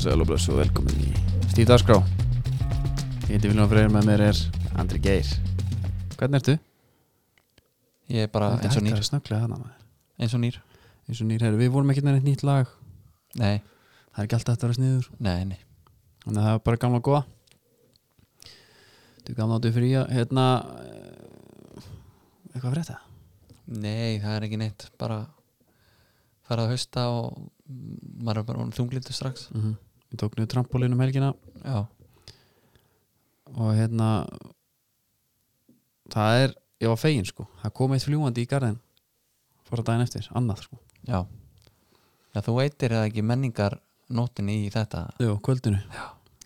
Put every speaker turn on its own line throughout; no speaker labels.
sæl og blessu og velkomin í
Stíf Dagskrá Ég heiti Viljón Freyr, með mér er Andri Geir Hvernig ertu?
Ég er bara eins og nýr
er snögglega hana maður
Eins og nýr
Eins og nýr herri, við vorum ekkert með neitt nýtt lag
Nei,
Það er ekki alltaf eftir að vera sniður
nei, nei
Þannig að það er bara gamla góða Þú gamla áttu frí að Hérna eh, Eitthvað fyrir þetta?
Nei, það er ekki neitt Bara farað að hausta og maður er bara þunglindu strax
Mm -hmm. Ég tók niður trampolín um helgina
Já,
Og hérna Það er Ég var fegin sko Það kom eitt fljúandi í garðin Fór að daginn eftir Annað sko
já Já, þú eitir eða ekki menningar nótinni í þetta
Jú, kvöldinu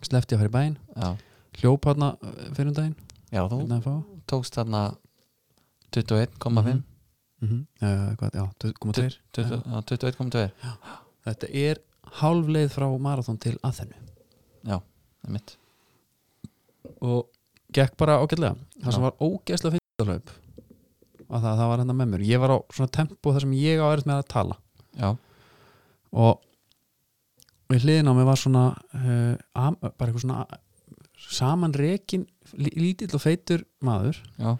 Sleppti að fara í bæinn
Já,
hljóp hérna eh, fyrir um daginn
já þú
hérna að fá
tókst þarna 21,5
Mhm. mm -hmm. uh, hvað, já, 2,2
20 já, 21,2
þetta er hálf leið frá marathon til aðhennu
Já, það er mitt
og gekk bara ágætlega það sem
Já.
var ógeðslega fyrir hlaup að það, það var hérna með mér ég var á svona tempo þar sem ég á aðeins með að tala
Já,
og við hliðin á mig var svona uh, am, bara eitthvað svona samanrekin lítill og feitur maður
já,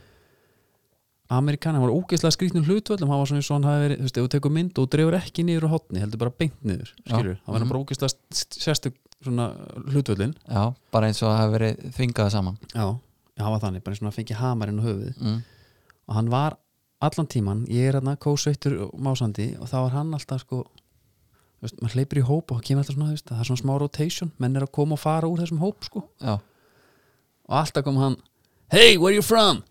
Amerikanin var ógeðslega skrýtnum hlutvöllum hann var svona eins og hann hafi verið, þú veist, ef þú tekur mynd og dreifur ekki niður á hotni, heldur bara beint niður skilur, hann var
Mhm.
bara ógeðslega st- sérstök svona uh, hlutvöllin
já Bara eins og það hafi verið þvingað saman
já, já, hann var þannig, bara eins og hann fengi hamarinn á höfuð
mm.
og hann var allan tíman, ég er hann kósveittur og másandi og þá var hann alltaf sko þú veist, maður hleypir í hóp og það kemur alltaf svona, þú veist, það er svona smá rotation menn er að koma og fara úr þessum hóp sko
Já,
og alltaf kom hann, hey, where you from?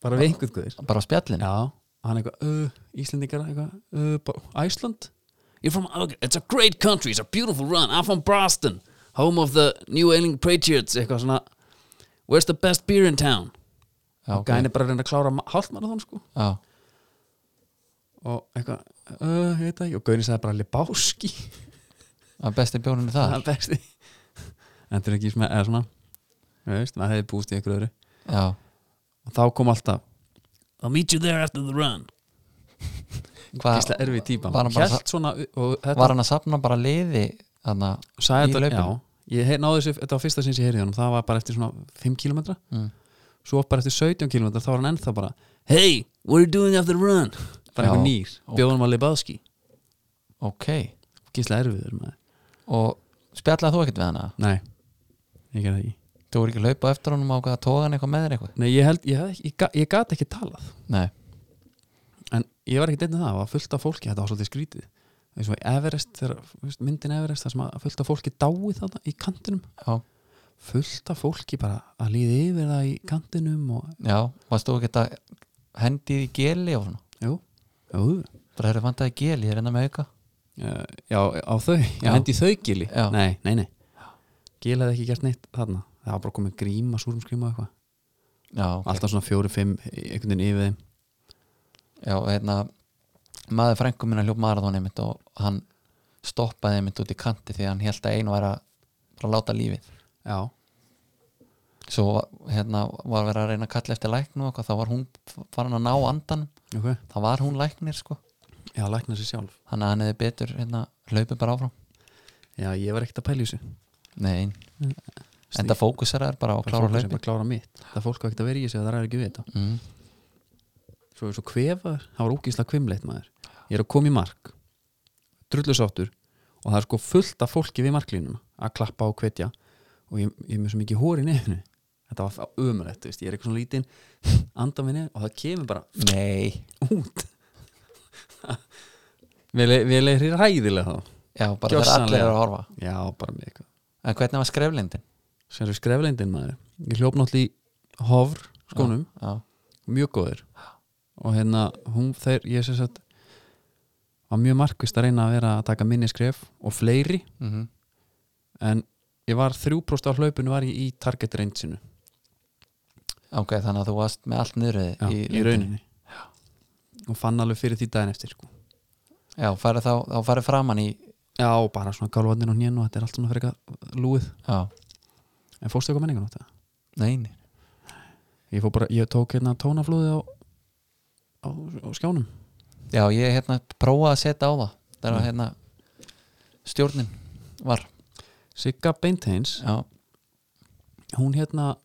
bara við einhvern guður
bara á spjallin
Já, hann eitthvað uh, Íslendingar eitthvað uh, bara, Iceland You're from, okay, It's a great country, it's a beautiful run I'm from Boston, home of the New England Patriots eitthvað svona Where's the best beer in town?
Já,
Okay. Gæni bara að reyna að klára hálfmarathon sko
já,
og eitthvað, uh, ég veit það ekki og Gaurin sagði bara Lebowski
að besti bjórnir það
það er besti en þetta er ekki svona, eða svona þú veist, maður hefði búist í ykkur öðru
Já,
og þá kom alltaf I'll meet you there after the run Gísla erfið típa
var hann bara
Hélt svona, og þetta
var hann að safna bara liði þarna
sagði
í
þetta,
hlaupinu?
já, ég hef, náði þessu þetta var fyrsta sinns ég heyrði honum, það var bara eftir svona 5 km,
mm.
svo bara eftir 17 km þá var hann ennþá bara, hey what are you doing after the run, bara
Já,
eitthvað nýr
ok.
bjóðum að Lebowski,
ok,
gísla erfiður maður,
og spjallaði þú ekkert við hana
nei ég gerði það ekki,
þú voru ekki að laupa á eftir honum á hvað að toga hann eitthvað með þér eitthvað
nei ég held ég, hef, ég, gat, ég gat ekki talað,
nei,
en ég var ekki deitt með það, það var fullt af fólki, þetta var svolítið skrítið eins og í Everest, þegar, þú veist, myndin Everest það sem að fullt af fólki dáið þarna í kantinum
já,
fullt af fólki bara að líði yfir það í kantinum og,
já, varst þú ekkert að hendið í geli og svona
jú, jú
bara hefur vantaði geli, ég er enda með auka
Uh, já, á þau, já,
Já.
hendi í þau gili
Já.
Nei, nei, nei Gil hefði ekki gert neitt þarna Það var bara komið gríma, súrum skríma og eitthvað
já, ok,
Alltaf svona fjóri, fimm, einhvern veginn yfir þeim
já, hérna maður frængum minna hljóp marathon einmitt og hann stoppaði einmitt út í kanti því að hann held að einu væri að bara láta lífið
Já,
svo hérna var verið að reyna að kalla eftir læknu og eitthvað, þá var hún farin að ná andan
ok
þá var hún læknir sko
Já, lækna sér sjálf
þannig að hann hefði betur hérna, hlaupið bara áfram
Já, ég var ekkert að pæla í þessu
Nei, enda fókusar er bara á að
Bara
klára
fólk sem
hlaupið
bara klára mitt Það fólk var ekkert að vera í þessu, það er ekki við þetta
mm.
Svo, svo kvefaður, það var ógísla kvimleitt maður Ég er að koma í mark Drullusáttur Og það er sko fullt af fólki við marklínuna Að klappa og hvetja Og ég, ég er með svo mikið hóri nefnu Þetta var það ömulegt, þú veist, ég er eitthvað svona lítinn Anda minni og það kemur bara
Nei
út Við leiðir ræðilega þá
Já, bara það er allir
Gjörsamlega.
eru að horfa
Já, bara með eitthvað
En hvernig var skreflindin?
Sér er skrefleindin maður Ég hljóp náttúrulega í hofr skónum
Já,
Mjög góður Og hérna, hún, þeir, ég sér satt Var mjög markvist að reyna að vera að taka minni skref Og fleiri
mm
En ég var þrjúprost á hlaupinu var ég í target reynsinu
ok, þannig að þú varst með allt niður í,
Já, í,
lindinni.
rauninni Og fann alveg fyrir því daginn eftir sko.
Já, farið þá, þá farið framan í
Já, og bara svona kálvarnir og nén og þetta er allt svona fyrir eitthvað lúið
Já,
En fórstu eitthvað menningun á þetta?
neini
Ég, fór bara, ég tók hérna tónaflóði á, á, á skjánum
Já, ég hérna prófaði að setja á það Það er að hérna stjórnin var
Sigga Beinteins
já,
hún hérna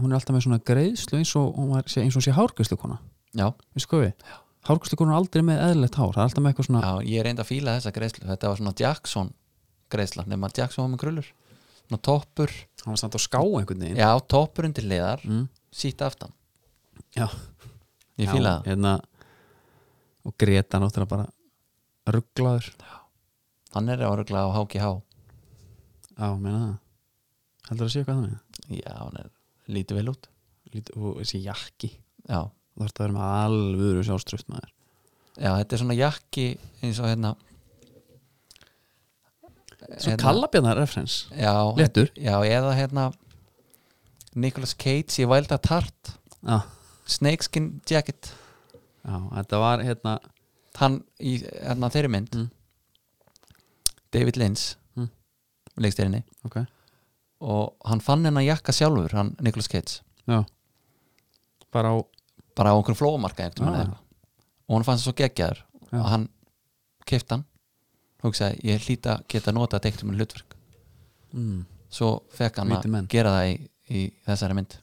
hún er alltaf með svona greiðslu eins og hún var, sé- eins og sé hárgæslukona
já,
við sko við, hárgæslukona er aldrei með eðlilegt hár, það er alltaf með eitthvað svona
já, ég reyndi að fíla þessa greiðslu þetta var svona Jackson greiðsla nema Jackson var með krullur svona toppur,
hann var samt á ská einhvern veginn
já, toppur undir liðar
Mm.
sítt aftan,
já,
ég fíla það
hérna, og Greta náttúrulega bara rugglaður
hann er áreglega á HGH
já, meina það heldur að sé eitthvað þannig
já, hann er lítið vel út
Lít, og þessi jakki,
já,
þú þarf að vera með alvöru sjálfströft maður
já, þetta er svona jakki eins og hérna
svo kallabjarnar referens,
já,
léttur
já, eða hérna Nicolas Cage í Wild at Heart
já,
Snakeskin Jacket
já, þetta var hérna
hann í hérna, þeirri mynd
Mm.
David Lynch
Mm.
mm. leikstærinni
ok,
og hann fann hennar jakka sjálfur hann Nicolas Cage
já bara á,
bara á einhverjum flóamarka ah.
Ah.
og hann fannst það svo geggjaður
Já.
og hann keift hann hugsaði ég hlýta geta nota þetta eitthvað með hlutverk
mm,
svo fekk hann
Viti menn.
að gera það í, í þessari mynd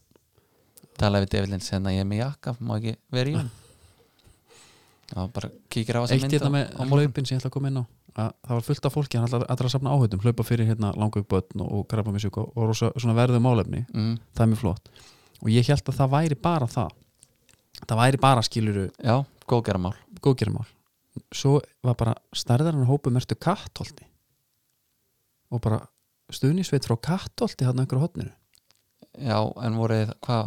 talaði við David Lynch hérna ég er með jakka, má ekki vera í hann og bara kíkir á þessa
eitt
mynd
hérna
á-
með
á morgun.
hlaupin sem ég ætla að koma inn á að það var fullt af fólki, hann ætlar allra að safna áhautum hlaupa fyrir hérna langaukbötn og krabba með sjúka og rosa, svona verðum málefni,
mm,
það er mjög flott og ég held að það væri bara það það væri bara skiluru
já, góðgerðamál
góðgerumál svo var bara stærðarinn hópu mertu kattholti og bara stuðnisveit frá kattholti hann einhverju hotninu,
Já, en voru þið, hvað,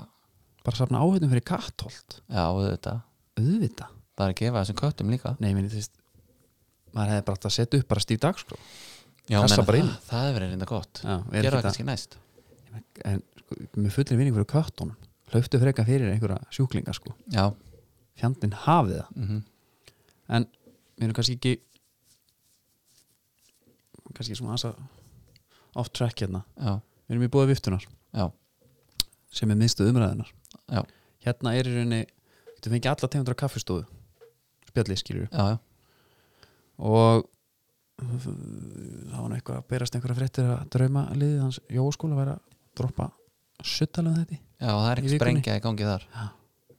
bara safna áhautum fyrir kattholt
já, auðvitað
auðvita,
bara að gefa þessum köttum líka
nei, minni þvist maður hefði bara átt að setja upp bara stíf dagskrá
já,
Kassa
meina,
bara inn.
það, það hefur reynda gott
Já, er ekki
gera það
það-
kannski næst
sko, en sko, með fullin vinning fyrir köttunum hlauftu freka fyrir einhverja sjúklinga sko.
já,
fjandinn hafið það
mm
en við erum kannski ekki kannski svona aðsa off track hérna
já,
við erum í bóði viftunar
já,
sem er minnstu umræðunar
Já.
hérna er í rauninni þú fengið alla tegundra kaffistofu spjallið skilur
já, já,
og þá var nú eitthvað að berast einhverja fréttir að drauma liðið hans jóskóla væri að droppa suttalega þetta
já, það er
Í
ekki
vikunni.
sprengja í gangi þar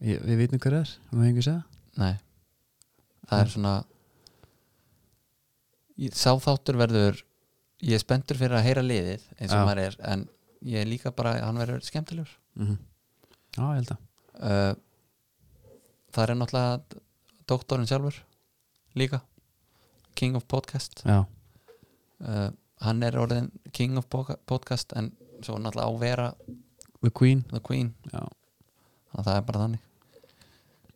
Ég, við vitum hver það er, það með hengi segja
nei, það er svona ég- sá þáttur verður ég er spenntur fyrir að heyra liðið eins og
Já.
maður er, en ég er líka bara hann verður skemmtilegur
mm Já, ég held að
uh, það er náttúrulega doktorinn sjálfur líka King of Podcast
Já,
uh, hann er orðin king of poka- podcast en svo náttúrulega á vera
The Queen
the queen
Já,
þannig að það er bara þannig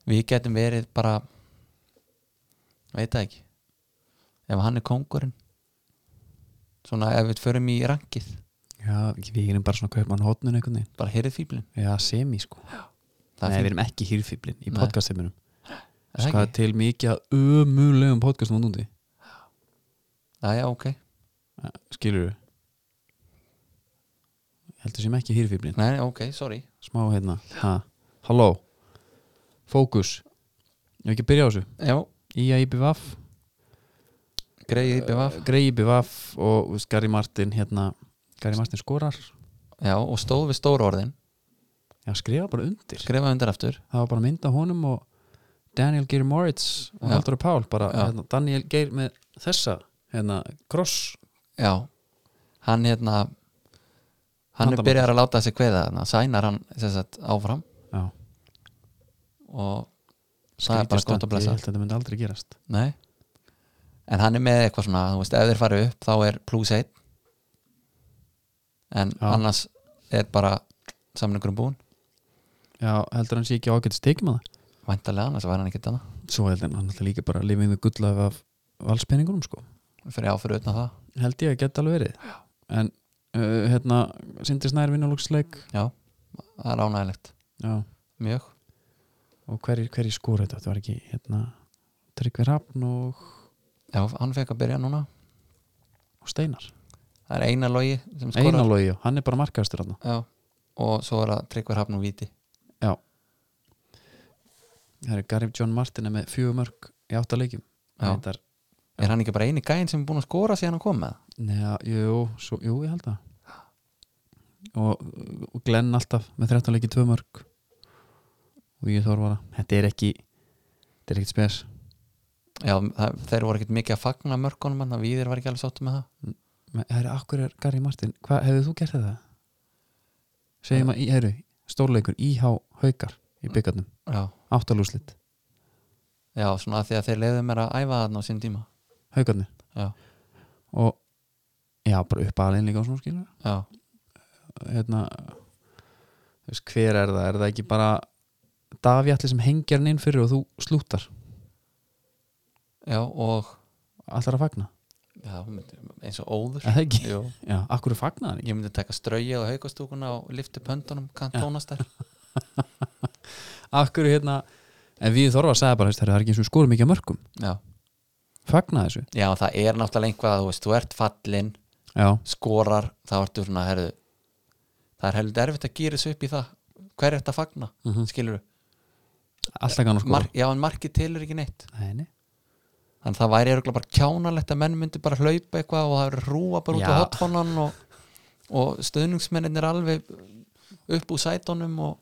við getum verið bara veit það ekki ef hann er kóngurinn svona ef við förum í rankið
Já við erum bara svona kaupmann hótnun einhvern veginn
bara heyrið fíblin
Já, semi sko
það
Nei,
er
við
fínt,
erum ekki hýrfýblin í
Nei.
podcastheiminum
er það
Skal
ekki?
til mikið að ömulegum podcastum á núndi
Já, já, ok
Skilur við Heldur sem ekki hýrfýblin
Nei, nei, ok, sorry
Smá hérna ha. Halló Fókus Ég hef ekki að byrja á þessu
já,
Ía IBVF
greiði BVF
Grey IBVF og Gary Martin hérna Gary Martin skorar
já, og stóð við stóru orðin
Já, skrifa bara undir
skrifa undir aftur
það var bara mynd af honum og Daniel Geir Moritz og
Já.
Haldur Pál bara,
Já.
hérna, Daniel Geir með þessa hérna, cross
Já, hann hérna hann er
Handabandið.
byrjar að láta sig kveða hann sænar hann sem sagt, áfram
já,
og það er bara gott að
ég
blessa
held að þetta myndi aldrei gerast
Nei en hann er með eitthvað svona, þú veist, ef þeir fari upp þá er plus 1 en
Já.
annars er bara um samningurum búinn
já, heldur hann sé ekki ágætt stekum að það
væntalega annars var hann ekki þannig
svo heldur hann alltaf líka bara lifið með gull af valspenningunum sko
fyrir áfyrir utan það
held ég að geta alveg verið en uh, hérna, Sindri Snær vinnulóksleik
Já, það er ánægilegt
já,
mjög,
og hverjir hver skóra þetta þetta var ekki hérna Tryggvi Hrafn og,
já, hann fekk að byrja núna
og Steinar
það er eina logi sem skorar
Einarlógi, hann er bara markaðastur hann
Já, og svo er það tryggvar hafn og viti
Það er Gary John Martin er með fjögur mörg í átta leikjum
Já.
Reyndar
er hann ekki bara eini gæinn sem er búin að skora síðan hann kom með það?
Neha, jú, svo, jú, ég held það og, og Glenn alltaf með 13 leiki 2 mörg og ég þorvar að þetta er ekki þetta er ekkert spes
Já, það, þeir voru ekkert mikið að fagna mörkunum en það viðir var ekki alveg sáttu með það
Men, herri, akkur er Gary Martin, hvað hefur þú gert þetta? segjum að, í- herri, stórleikur IH Haukar í byggarnum,
Já,
áttalúslit
já svona að því að þeir leiðu mér að æfa þarna á sín tíma
Haukarnir
Já,
og já, bara upp aðeins líka og svona skilur
já,
hérna þú veist, hver er það, er það ekki bara Davíalli sem hengjar hann inn fyrir og þú slúttar,
já og
allar að fagna
já, hún myndi, eins og óður
Er það ekki?
Jú,
Já, akkur er fagnað hann ekki
ég myndi taka strauja og haukastúkuna og lifti pöndunum kantónastær
Akkur hérna, en við þorfa að segja bara veist, það er ekki eins og við skorum ekki að mörgum
Já,
Fagna þessu
já það er náttúrulega einhvað að þú veist, þú ert fallin
Já,
skorar, þá ertu svona herðu, það er heldur erfitt að gýra þessu upp í það hver er þetta að fagna, mm
Mhm.
skilur
alltaf kannar skora
Mar, já, en markið tilur ekki neitt
Nei, nei.
þannig að það væri örgulega bara kjánalegt að menn myndi bara hlaupa eitthvað og það eru rúa bara út á
Já.
hotfónan og, og stöðningsmennin er alveg upp úr sætunum og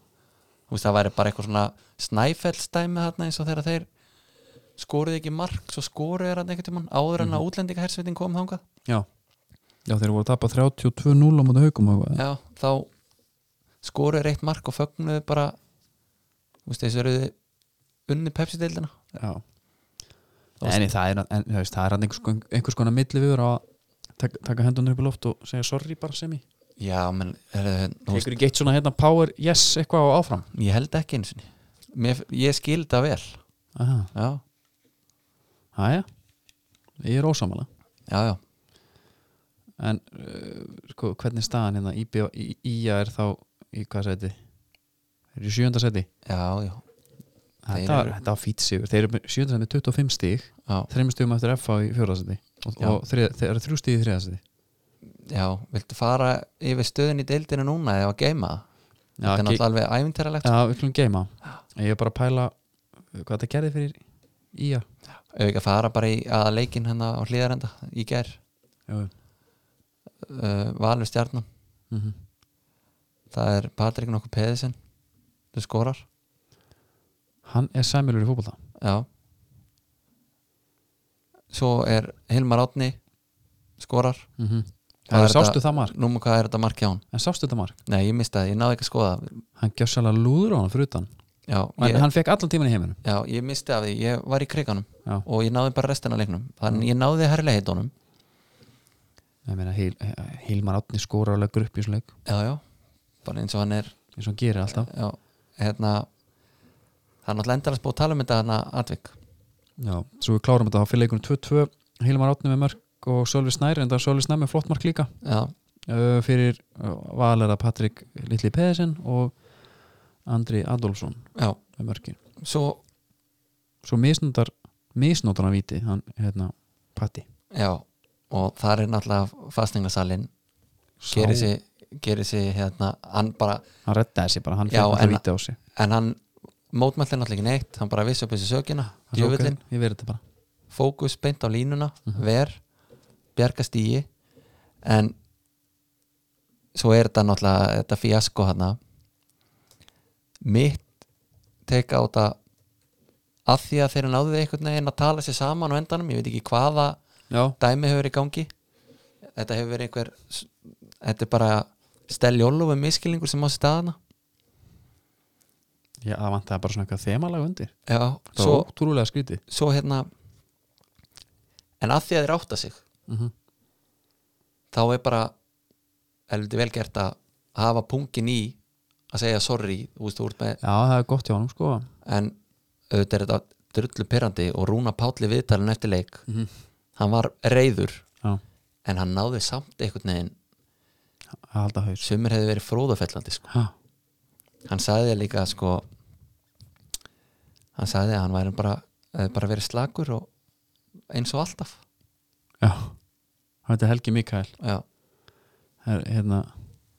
þú veist, það væri bara eitthvað svona snæfellstæmi þarna eins og þegar þeir skoruðu ekki mark svo skoruðu er hann einhvern tímann áður en að útlendingahersveitin kom þangað
Já. Já, þeir voru að tapa 32-0 á móti haugum og
já, þá skoruðu eitt mark og fögnuðu bara þú veist, þessu eru unni pepsi-deildina
Já. En það er, en, þú veist, það er hann einhvers, kon- einhvers konar milli viður á að taka, taka hendunar upp í loft og segja sorry bara sem í
já, menn, er, þú veist,
Tekur ekki eitt svona hérna power yes eitthvað og áfram
ég held ekki eins og Mér, ég skil það vel
Aha.
já,
Æja, ég er ósamála
já, já,
en uh, sko, hvernig er staðan hérna IB, í- IA er þá í hvað seti? Þeir eru í sjönda seti
já, já, Þeir
Þetta var,
eru-
þetta var fýt sigur Þeir eru með sjönda seti með 25 stíg
já,
þreim stígum eftir FH í fjórða seti og,
Já.
og þrið, þeir eru þrjú stíg í þriða seti
já viltu fara yfir stöðin í deildinu núna eða að geima það?
Já,
þetta er
ge-
náttúrulega alveg æfintaralegt
já, við skulum geima Ég er bara að pæla uh, hvað þetta gerði fyrir IA
ef ekki að fara bara í að leikin hennar á hlýðarenda í ger
Jú.
uh, Valur Stjarnan,
Mm
Mhm. það er Patrik nokkuð Peðisen þú skorar,
Hann er sæmjölur í fótbolta
já svo er Hilmar Átni skorar
mm -hmm.
Hvað Mhm. er
Sástu
þetta-
það mark,
núma hvað er þetta mark hjá hann?
en sástu það mark
Nei, ég mistaði, ég náði ekki að skoða það.
Hann gjör sérlega lúður á hann fyrir utan
já,
En
ég,
hann fekk allan tíman í heiminum
já, ég misti af því, ég var í kriganum
Já.
og ég náði bara restina af leiknum þannig ég náði herrleihitónum
Ég meina, Hil, Hilmar Átni skóra alveg grupp í svona leik
já, já, bara eins og hann er
eins og hann gerir alltaf
já, hérna það er náttúrulega endalast búið að tala um þetta hérna atvik
Já. Svo við klárum þetta, þá fyrir leikunum 2-2 Hilmar Átni með mörk og Sölvi Snær en það er Sölvi Snær með flott mark líka
já,
uh, fyrir uh, valera Patrik Lilli Peðisen og Andri Adolfsson
já,
með mörkin
svo
Svo misnótar misnótar hann viti, hann hérna Patti
já, og það er náttúrulega fastningasalinn gerir sig, gerir sig hérna, hann bara,
Hann reddaði sig bara, hann
Já,
fyrir alltaf
en-
viti á sig
en hann mótmælti náttúrulega ekki neitt, hann bara vissi upp þessu sökina
Hann sagði,
djöfullin,
"Ok, Ég verið þetta bara
fókus beint á línuna ver, bjarga stíi en svo er þetta náttúrulega þetta fíasko hana mitt teka á þetta að því að þeirra náðu einhvern veginn að tala sér saman á endanum, ég veit ekki hvaða
Já,
dæmi hefur verið í gangi þetta hefur verið einhver þetta er bara steljólu við miskilningur sem á sér staðana
Já það vantaði bara svona eitthvað þemalag undir
já,
Það
svo,
var ótrúlega skrítið
svo hérna en að því að þeir átta sig
mm -hmm.
þá er bara heldur vel gert að hafa punkin í að segja sorry þú veist, þú ert með,
Já, það er gott hjá hann sko
en auðvitað er þetta drullu perandi og Rúna Pálli viðtalin eftir leik
Mhm.
hann var reyður
Já,
en hann náði samt einhvern veginn
að halda haus
sumir hefði verið fróðafellandi sko.
ha.
hann sagði líka sko hann sagði að hann væri bara, hefði bara verið slagur og eins og alltaf
Já, þetta er Helgi Mikael
já,
Her, hérna,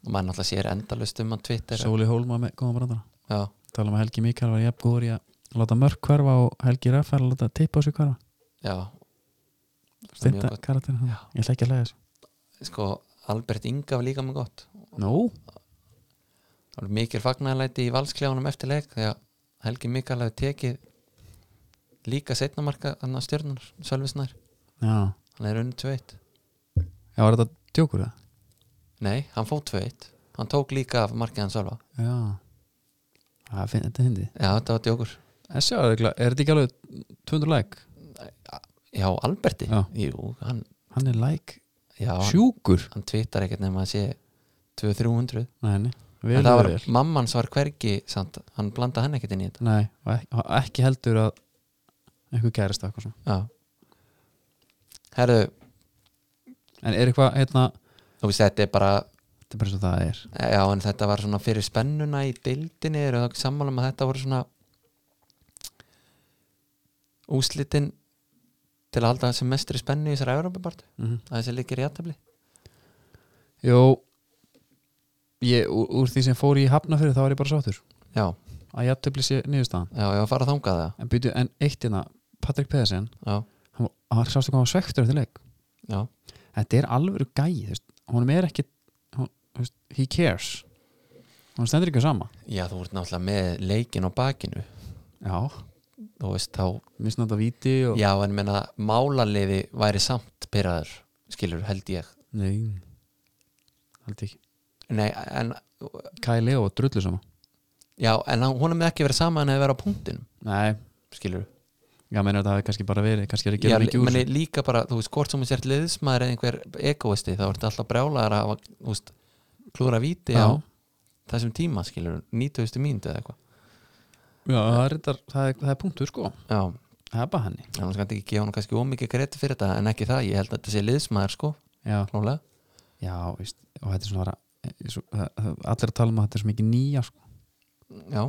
og maður náttúrulega sér endalust um hann Twitter
Sóli Hólma með góðan brandara
já,
tala um að Helgi Mikael var jafn góður í að láta mörg hverfa og Helgi Raffar að láta tippa á sig hverfa
já Það er mjög
Fynda
gott.
karakterinn hann Ég ætla ekki að læða þessu
sko, Albert Inga var líka með gott
Nú,
það var mikil fagnarlæti í valskljáunum eftir leik því að Helgi Mikael hefði tekið líka setnamarka annar stjörnur, Sölvisnær
já
hann er unni 2-1
Já, var þetta djókur það?
nei, hann fóð 2-1 hann tók líka af markið hann Sölva
Já Það finn, þetta er hindi
já, þetta var djókur
En sjá, er þetta ekki alveg 200 like?
já, Alberti,
Já.
jú, hann
Hann er like
já, hann,
sjúkur
hann tvittar ekkert nema að sé 2-300
Nei, nei,
en
vel
það
og
var,
vel
mammans var hvergi samt, hann blanda hann ekkert inn í þetta
Nei, og ekki, og ekki heldur að einhver gerist eitthvað svona
já herðu,
En er eitthvað, hérna,
þú veist þetta er bara
þetta er bara svo það er
Eh, Já, en þetta var svona fyrir spennuna í deildinni eru það sammála um að þetta voru svona úslitin til að halda sem mestri spennu í þessari Európa-bartu
mm
að þessi líkir í aðtefli
Jó ég, úr, úr því sem fór í hafna þá var ég bara sáttur
Já,
að ég töfli sér niðurstaðan
já, ég var að fara að þangað það
En, byrju, en eitt hérna, Patrik Pedersen
Já,
hann, var- hann var sástu hvað hann var svektur eftir leik
já,
Þetta er alveg gæi, þú veist Honum er ekki, hún, þú veist, he cares Hún stendur ekki á sama
já, þú ert náttúrulega með leikin á bakinu
Já,
þú veist þá,
misnátt að víti og...
já, en menna málaliði væri samt pyrraður skilur, held ég
Nei, held ekki
Nei, en,
Kæli og drullu sama
já, en hann- honum er ekki verið sama en að vera á punktinum,
Nei,
skilur
Já, menn þetta hafi kannski bara verið, kannski er ekki
Já,
verið ekki úr
meni, líka bara, þú veist, hvort sem þú sért liðsmaður eða einhver egoisti, þá ertu alltaf brjálaðar að hafa, þú veist, klúra víti
Já.
á þessum tíma, skilur 90. mínútu eða eitthvað
Já, það er, reyndar- það, er, það er punktur sko
Já,
Það er bara henni
en hann skal ekki gefa hann kannski ómikið greiti fyrir þetta, en ekki það, ég held að þetta sé liðsmaður, sko,
Já,
klálega
já víst, og þetta er svona bara svo, það- það- Allir að tala um að þetta er svo mikið nýja sko.
Já,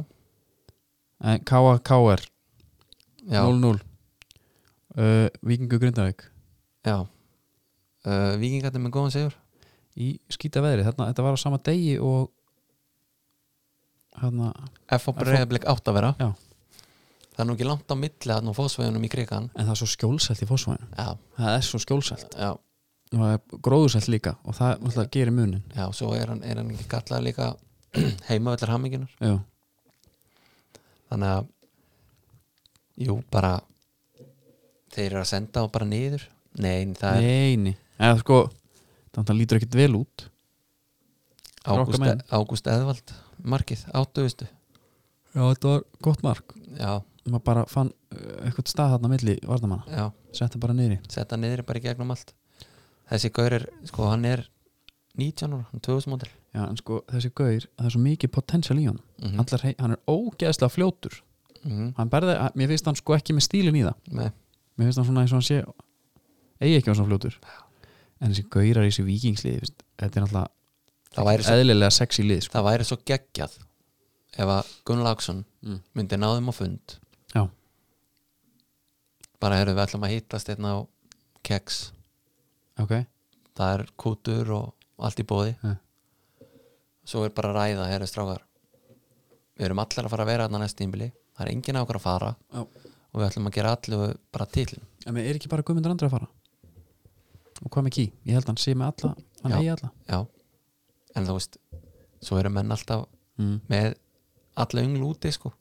En K.A. K.R.
já,
0-0 uh, Víkingu Grindavík
já uh, Víkingarnir með góðan sigur
Í skýta veðri, þarna, þetta var á sama degi og hérna,
F.O. Breiðablik átt að vera
Já.
Það er nú ekki langt á milli að nú fósveginum í krigan
en það er svo skjólselt í fósvæðinu
Já,
Það er svo skjólselt
já,
og það er gróðuselt líka og það náttúrulega gerir munin
já, svo er hann, er hann ekki kallað líka heimavöllar hamingjuna
Já,
þannig að jú, bara þeir eru að senda og bara niður nei, það er
neini Eða sko, þannig að lítur ekkit vel út
Ágúst,
Rokkamenn.
Ágúst Eðvald markið, áttuðustu
Já, þetta var gott mark
já,
maður bara fann uh, eitthvað stað þarna milli vardamanna,
já,
setti bara niðri
setta niður bara í gegnum allt þessi gaur er, sko, hann er 19 ára, hann er 2000 mótil
já, en sko þessi gaur, það er svo mikið potential í honum
mm
mm. hei, hann er ógeðslega fljótur hann berði, að- mér finnst hann sko ekki með stílin í það
mhm, Nei,
mér finnst hann svona eins og hann sé eigi ekki á svona fljótur en þessi gaurar í þessi vikingsliði veist, þetta er náttúrulega
það, væri svo,
eðlilega sexy lið sko.
það væri svo geggjað ef að Gunn Lagsson
Mm.
myndi náðum á fund
Já.
bara erum við ætlum að hittast hérna á keks
ok,
það er kútur og allt í bóði
Ja.
svo er bara að ræða herri strákar við erum allar að fara að vera hérna þarna næst tímbili það er enginn á okkur að fara
Já.
og við ætlum að gera allu bara til
en mér er ekki bara Guðmundur Andri að fara og hvað með ký, ég held hann sé með alla hann
Já.
eigi alla
já, en þú veist svo eru menn alltaf
mm.
með alla ynglu úti sko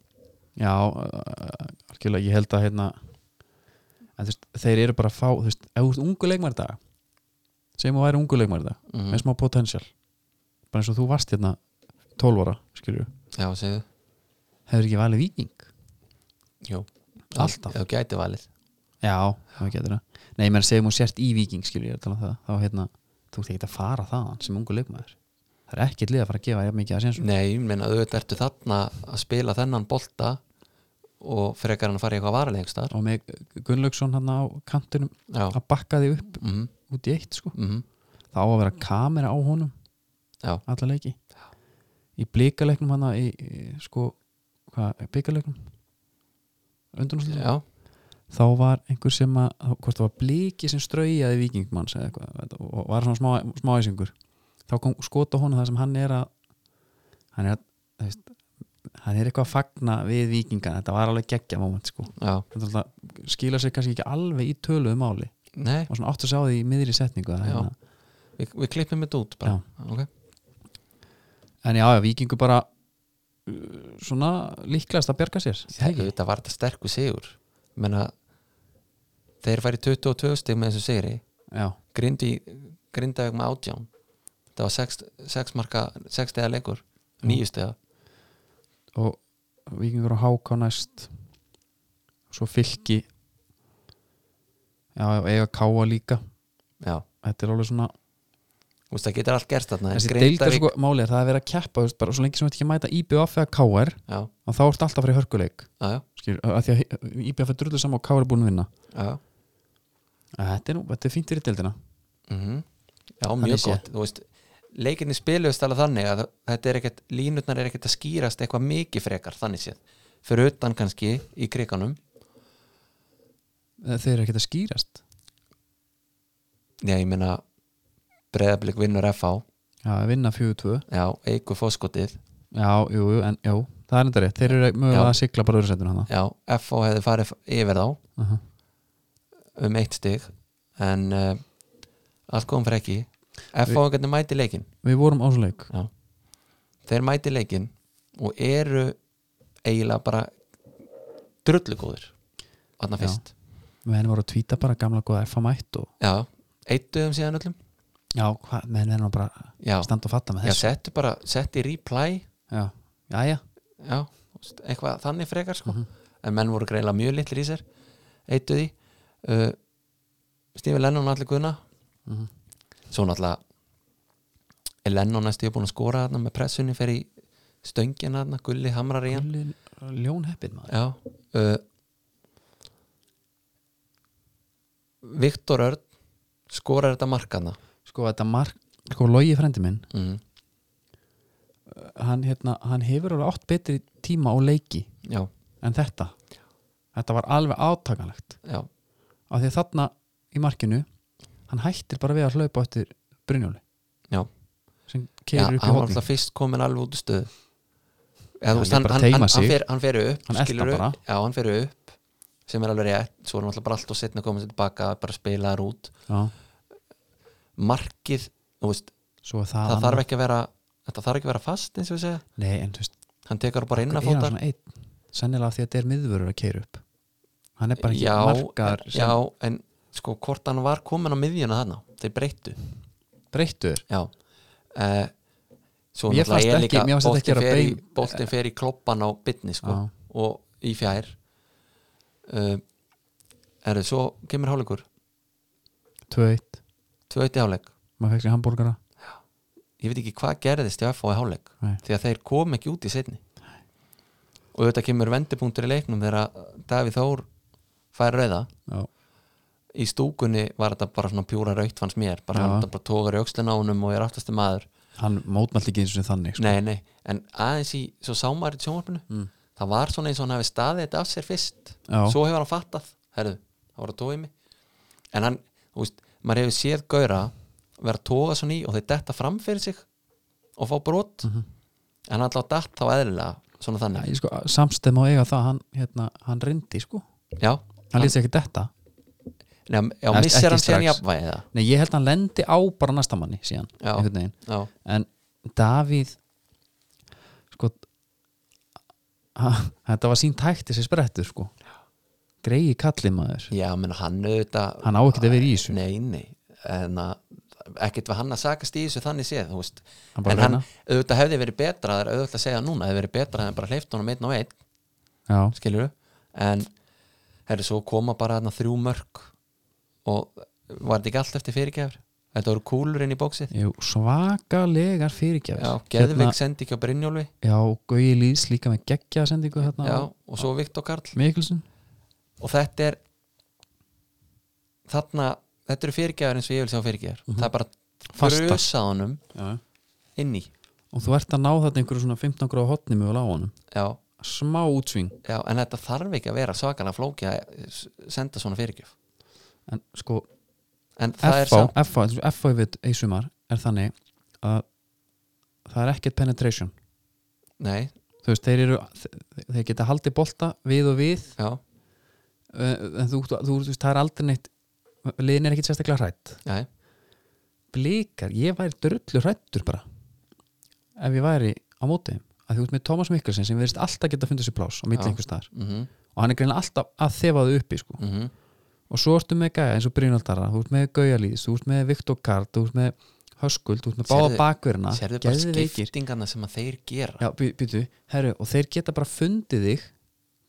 Já, uh, algjörlega, ég held að hérna en, þú veist, þeir eru bara að fá þú veist, ef þú ert ungu leikmæri dag sem þú væri ungu leikmæri dag
mm
Mhm. með smá potential bara eins og þú varst hérna 12 ára, skilju,
já, segðu,
hefur ekki valið viking
jú
Alltaf.
þú gæti valið
Já, það getur það Nei, menn segjum þú sért í viking, skilju, ég er að tala um það þá hérna, þú ert ekki að fara þaðan sem ungu leikmæri það er ekkert lið að fara að gefa jafn mikið að sénsum
nei, ég meina auðvitað ertu þarna að spila þennan bolta og frekar hann að fara í eitthvað varalegstar
og með Gunnlaugsson hann á kantinum
já,
að bakka því upp
mhm,
út í eitt, sko
mhm
það á að vera kamera á honum
Já.
alla leiki í blíkaleiknum hana í, í sko, hvað, bíkaleiknum undurnúslega
já,
þá var einhver sem að, hvort það var blíki sem straujaði vikingmanns eða eitthvað þetta- og var svona smá, smá æsingur þá kom skot á honum það sem hann er að hann er að þú veist, hann er eitthvað að fagna við vikingan þetta var alveg geggja moment sko
já,
Þetta er alltaf- skila sér kannski ekki alveg í um töluðu máli
Nei,
og svona átt að sjá því í miðri setningu að,
Já.
hérna.
við, við klippum þetta út bara Ok.
en já, já, vikingu bara uh, svona líklegast að bjarga sér
Þegar þetta var þetta sterkur sigur menna þeir færi 22 stig með þessu sigri
já,
Grindi, Grindavík með átján þetta var 6, 6 marka 6 stegar leikur, 9 stegar
og vikingur og háka næst svo fylki já, já, eiga káa líka
já,
þetta er alveg svona
þú veist það getur allt gerst þarna
þessi
Grindavík-
deild er sko málið er það að vera að keppa þú veist, bara svo lengi sem þetta ekki að mæta IBF eða KR
já,
og þá ertu alltaf að fara í hörkuleik
já, já,
skil, að því að IBF er drullu saman og KR er búin að vinna
já.
Að þetta er, nú, þetta er fínt fyrir deildina
Mm já
Þannig
mjög
sé.
gott þú veist, leikinni spiluðust alveg þannig að þetta er ekkert, línutnar er ekkert að skýrast eitthvað mikið frekar, þannig séð fyrir utan kannski í kriganum
Eh, þeir eru ekkert að skýrast
já, ég meina breyðablik vinnur FH
já, að vinna 4-2
já, eigur fóskotið
já, jú, jú, en jú, það er enda rétt þeir eru mögulega
Já.
að sigla bara öðru setjum hana
Já, FO hefði farið yfir þá
uh
um eitt stig en uh, allt kom fyrir ekki FO hvernig mæti leikin
við vorum á svo leik
Já. þeir mæti leikin og eru eiginlega bara drullugóðir þarna
Já.
fyrst
menn voru að tvíta bara gamla góða F-mætt og
Já, eittuðum síðan öllum
já, hva, menn verður nú bara að
Já,
standa og fatta með
já
þessu
settu bara, settu í replay
já, já, já,
já, eitthvað þannig frekar sko. en menn voru greinlega mjög litlir í sér eittu því uh, Stífi Lennon allir guðna
Mhm.
svo náttúrulega er Lennon næstu ég búin að skora þarna með pressunni fer í stöngina þarna, gulli hamrar í hann
Gullin- ljónheppin maður
já uh, Viktor Örn skorar þetta markana
sko þetta mark, sko logi frendi minn
mm.
hann, hérna, hann hefur alveg átt betri tíma og leiki
já,
en þetta þetta var alveg átakanlegt
já,
af því að þarna í markinu hann hættir bara við að hlaupa eftir Brynjóli
já
sem
Já,
keirir upp í
hann var
hóðning
alltaf fyrst komin alveg út í stöðu
Já,
Eða, þú veist,
hann er
hann,
bara að
hann, hann,
teyma
hann,
sig.
fer, hann fer upp
Hann eltar
skilurðu?
bara.
já, hann fer upp sem er alveg rétt, svo er hann alltaf bara allt og setna komin sér tilbaka, bara spilaðar út
já,
markið, þú veist,
svo er það
það
annað.
þarf ekki að vera þetta þarf ekki að vera fast eins og við segja
nei, en þú veist,
hann tekar bara
er
inn
hann
að fóta
svona einn sennilega af því að þetta er miðvörur að keira upp hann er bara ekki
já,
markar sem
já, en sko hvort hann var komin á miðjuna þarna, þeir breyttu
breyttur
já uh, svo
Mér fannst
náttúrulega er
ekki-
líka
mér fannst þetta ekki
boltinn
vera
fer, í-
bein-
boltinn fer í kloppan á bytni sko,
Já.
og í fjær uh, er svo kemur hálugur,
2-1,
tvöti háleg
maður fekk sér hambúrgara
ég veit ekki hvað gerðist í FO í háleg
Nei.
því að þeir kom ekki út í setni og þetta kemur vendipunktur í leiknum þegar Davíð Þór fær rauða
já,
í stúkunni var þetta bara svona pjúra raukt fannst mér, bara
Já.
hann bara tókar í aukslina á honum og er aftastu maður
hann mótmælt ekki eins og þannig sko. Mm.
Nei, nei, en aðeins í svo sámaður í sjónvarpinu, það var svona eins og hann hafi staðið þetta af sér fyrst
Já.
svo hefur hann fattað, herðu, það var að tóa í mig en hann, þú veist, maður hefur séð gaura vera að tóa svona í og þeir detta fram fyrir sig og fá brot
Mhm.
en hann alltaf datt þá eðlilega svona þannig,
Nei, sko, samstæð má eiga það hann, hérna, hann rindi sko
já
hann lýst ekki þetta
Nei, já,
Nei, ekki
missir hann síðan
strax.
jafnvægið það
Nei, ég held að hann lendi á bara næsta manni síðan,
Já.
einhvern veginn
Já,
en Davíð sko ha, þetta var sín tækt þessi sprettur sko greiði kalli maður
já menn hann auðvitað
hann á ekki að vera í þessu
Nei, nei, en að ekkert var hann að sakast í þessu þannig séð þú veist.
Hann bara
en hann,
reyna.
auðvitað hefði verið betra það er auðvitað að segja núna, hefði verið betra að hann bara hleyft honum einn og einn,
já,
skilur en herri, svo koma bara þarna þrjú mörg og var þetta ekki allt eftir fyrirgefur þetta voru kúlur inn í bóksið
Jú, svakalegar fyrirgjafir
já,
Hérna-
Geðvik sendi ekki á Brynjólfi
já, Gauji Lýðs líka með geggja sendingu hérna
já,
á
og svo Viktor Karl
Mikkelsen
og þetta er þarna, þetta eru fyrirgefur eins og ég vil sjá fyrirgefur það er bara
Mhm. Fastar.
frösa honum
já.
inn í
og þú ert að ná þetta einhverju svona 15 gráð hotni mjög á honum
já,
smá útsving
Já, en þetta þarf ekki að vera svakalega flóki að s- senda svona fyrirgjöf
en sko,
En það er
FH
samt
FH, eins og FH við eisumar er þannig að það er ekkert penetration
Nei,
þú veist, þeir eru þe- þeir geta haldið bolta við og við
já,
eh, en þú, þú, þú veist, það er aldrei neitt liðin er ekkit sérstaklega hrætt
Jæja.
blikar, ég væri drullu hrættur bara ef ég væri á móti þeim. af því út með Thomas Mikkelsen sem verðist alltaf geta að funda sér pláss á milli
Já.
einhvers staðar
Mhm.
og hann er greinlega alltaf að þefa þau uppi sko.
Mhm.
og svo ertu með gæja eins og Brynaldara þú ert með Gaujalís, þú ert með Viktor Karl þú ert með Höskuld, þú ert með
Sérðu-
báða bakverina
Sérðu bara skiptingarna sem að þeir gera
Já, by- býtu, herru, og þeir geta bara fundið þig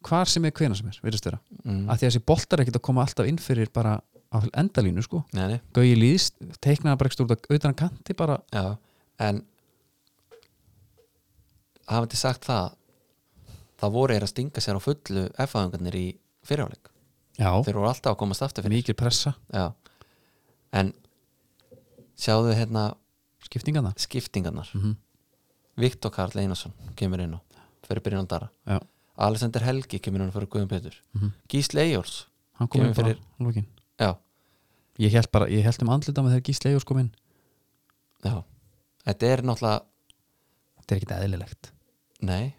hvar sem er hvena sem er, virðist vera
mm.
af því að þessi boltar er ekkert að koma alltaf inn fyrir bara á endalínu, sko
nei, nei.
Gauji Lýðs, teiknaði bara ekki stúrta utan að kanti bara,
Já. En hafandi sagt það það voru þeir að stinga sér á fullu F-aðungarnir í fyrirháleik
já,
þeir voru alltaf að komast aftur fyrir
mikil pressa
Já. en sjáðu hérna
skiptingana,
skiptingarnar
Mhm.
Viktor Karl Einarsson kemur inn á fyrir Brynaldara
já,
Alexander Helgi kemur inn á fyrir Guðum Petur
Mhm.
Gísli Eyjóls
hann kom
Kemur
inn bara
fyrir-
lókin.
já,
ég held bara, ég held um andlita með þegar Gísli Eyjós kom inn,
já. þetta er náttúrulega
þetta er ekkit eðlilegt
Nei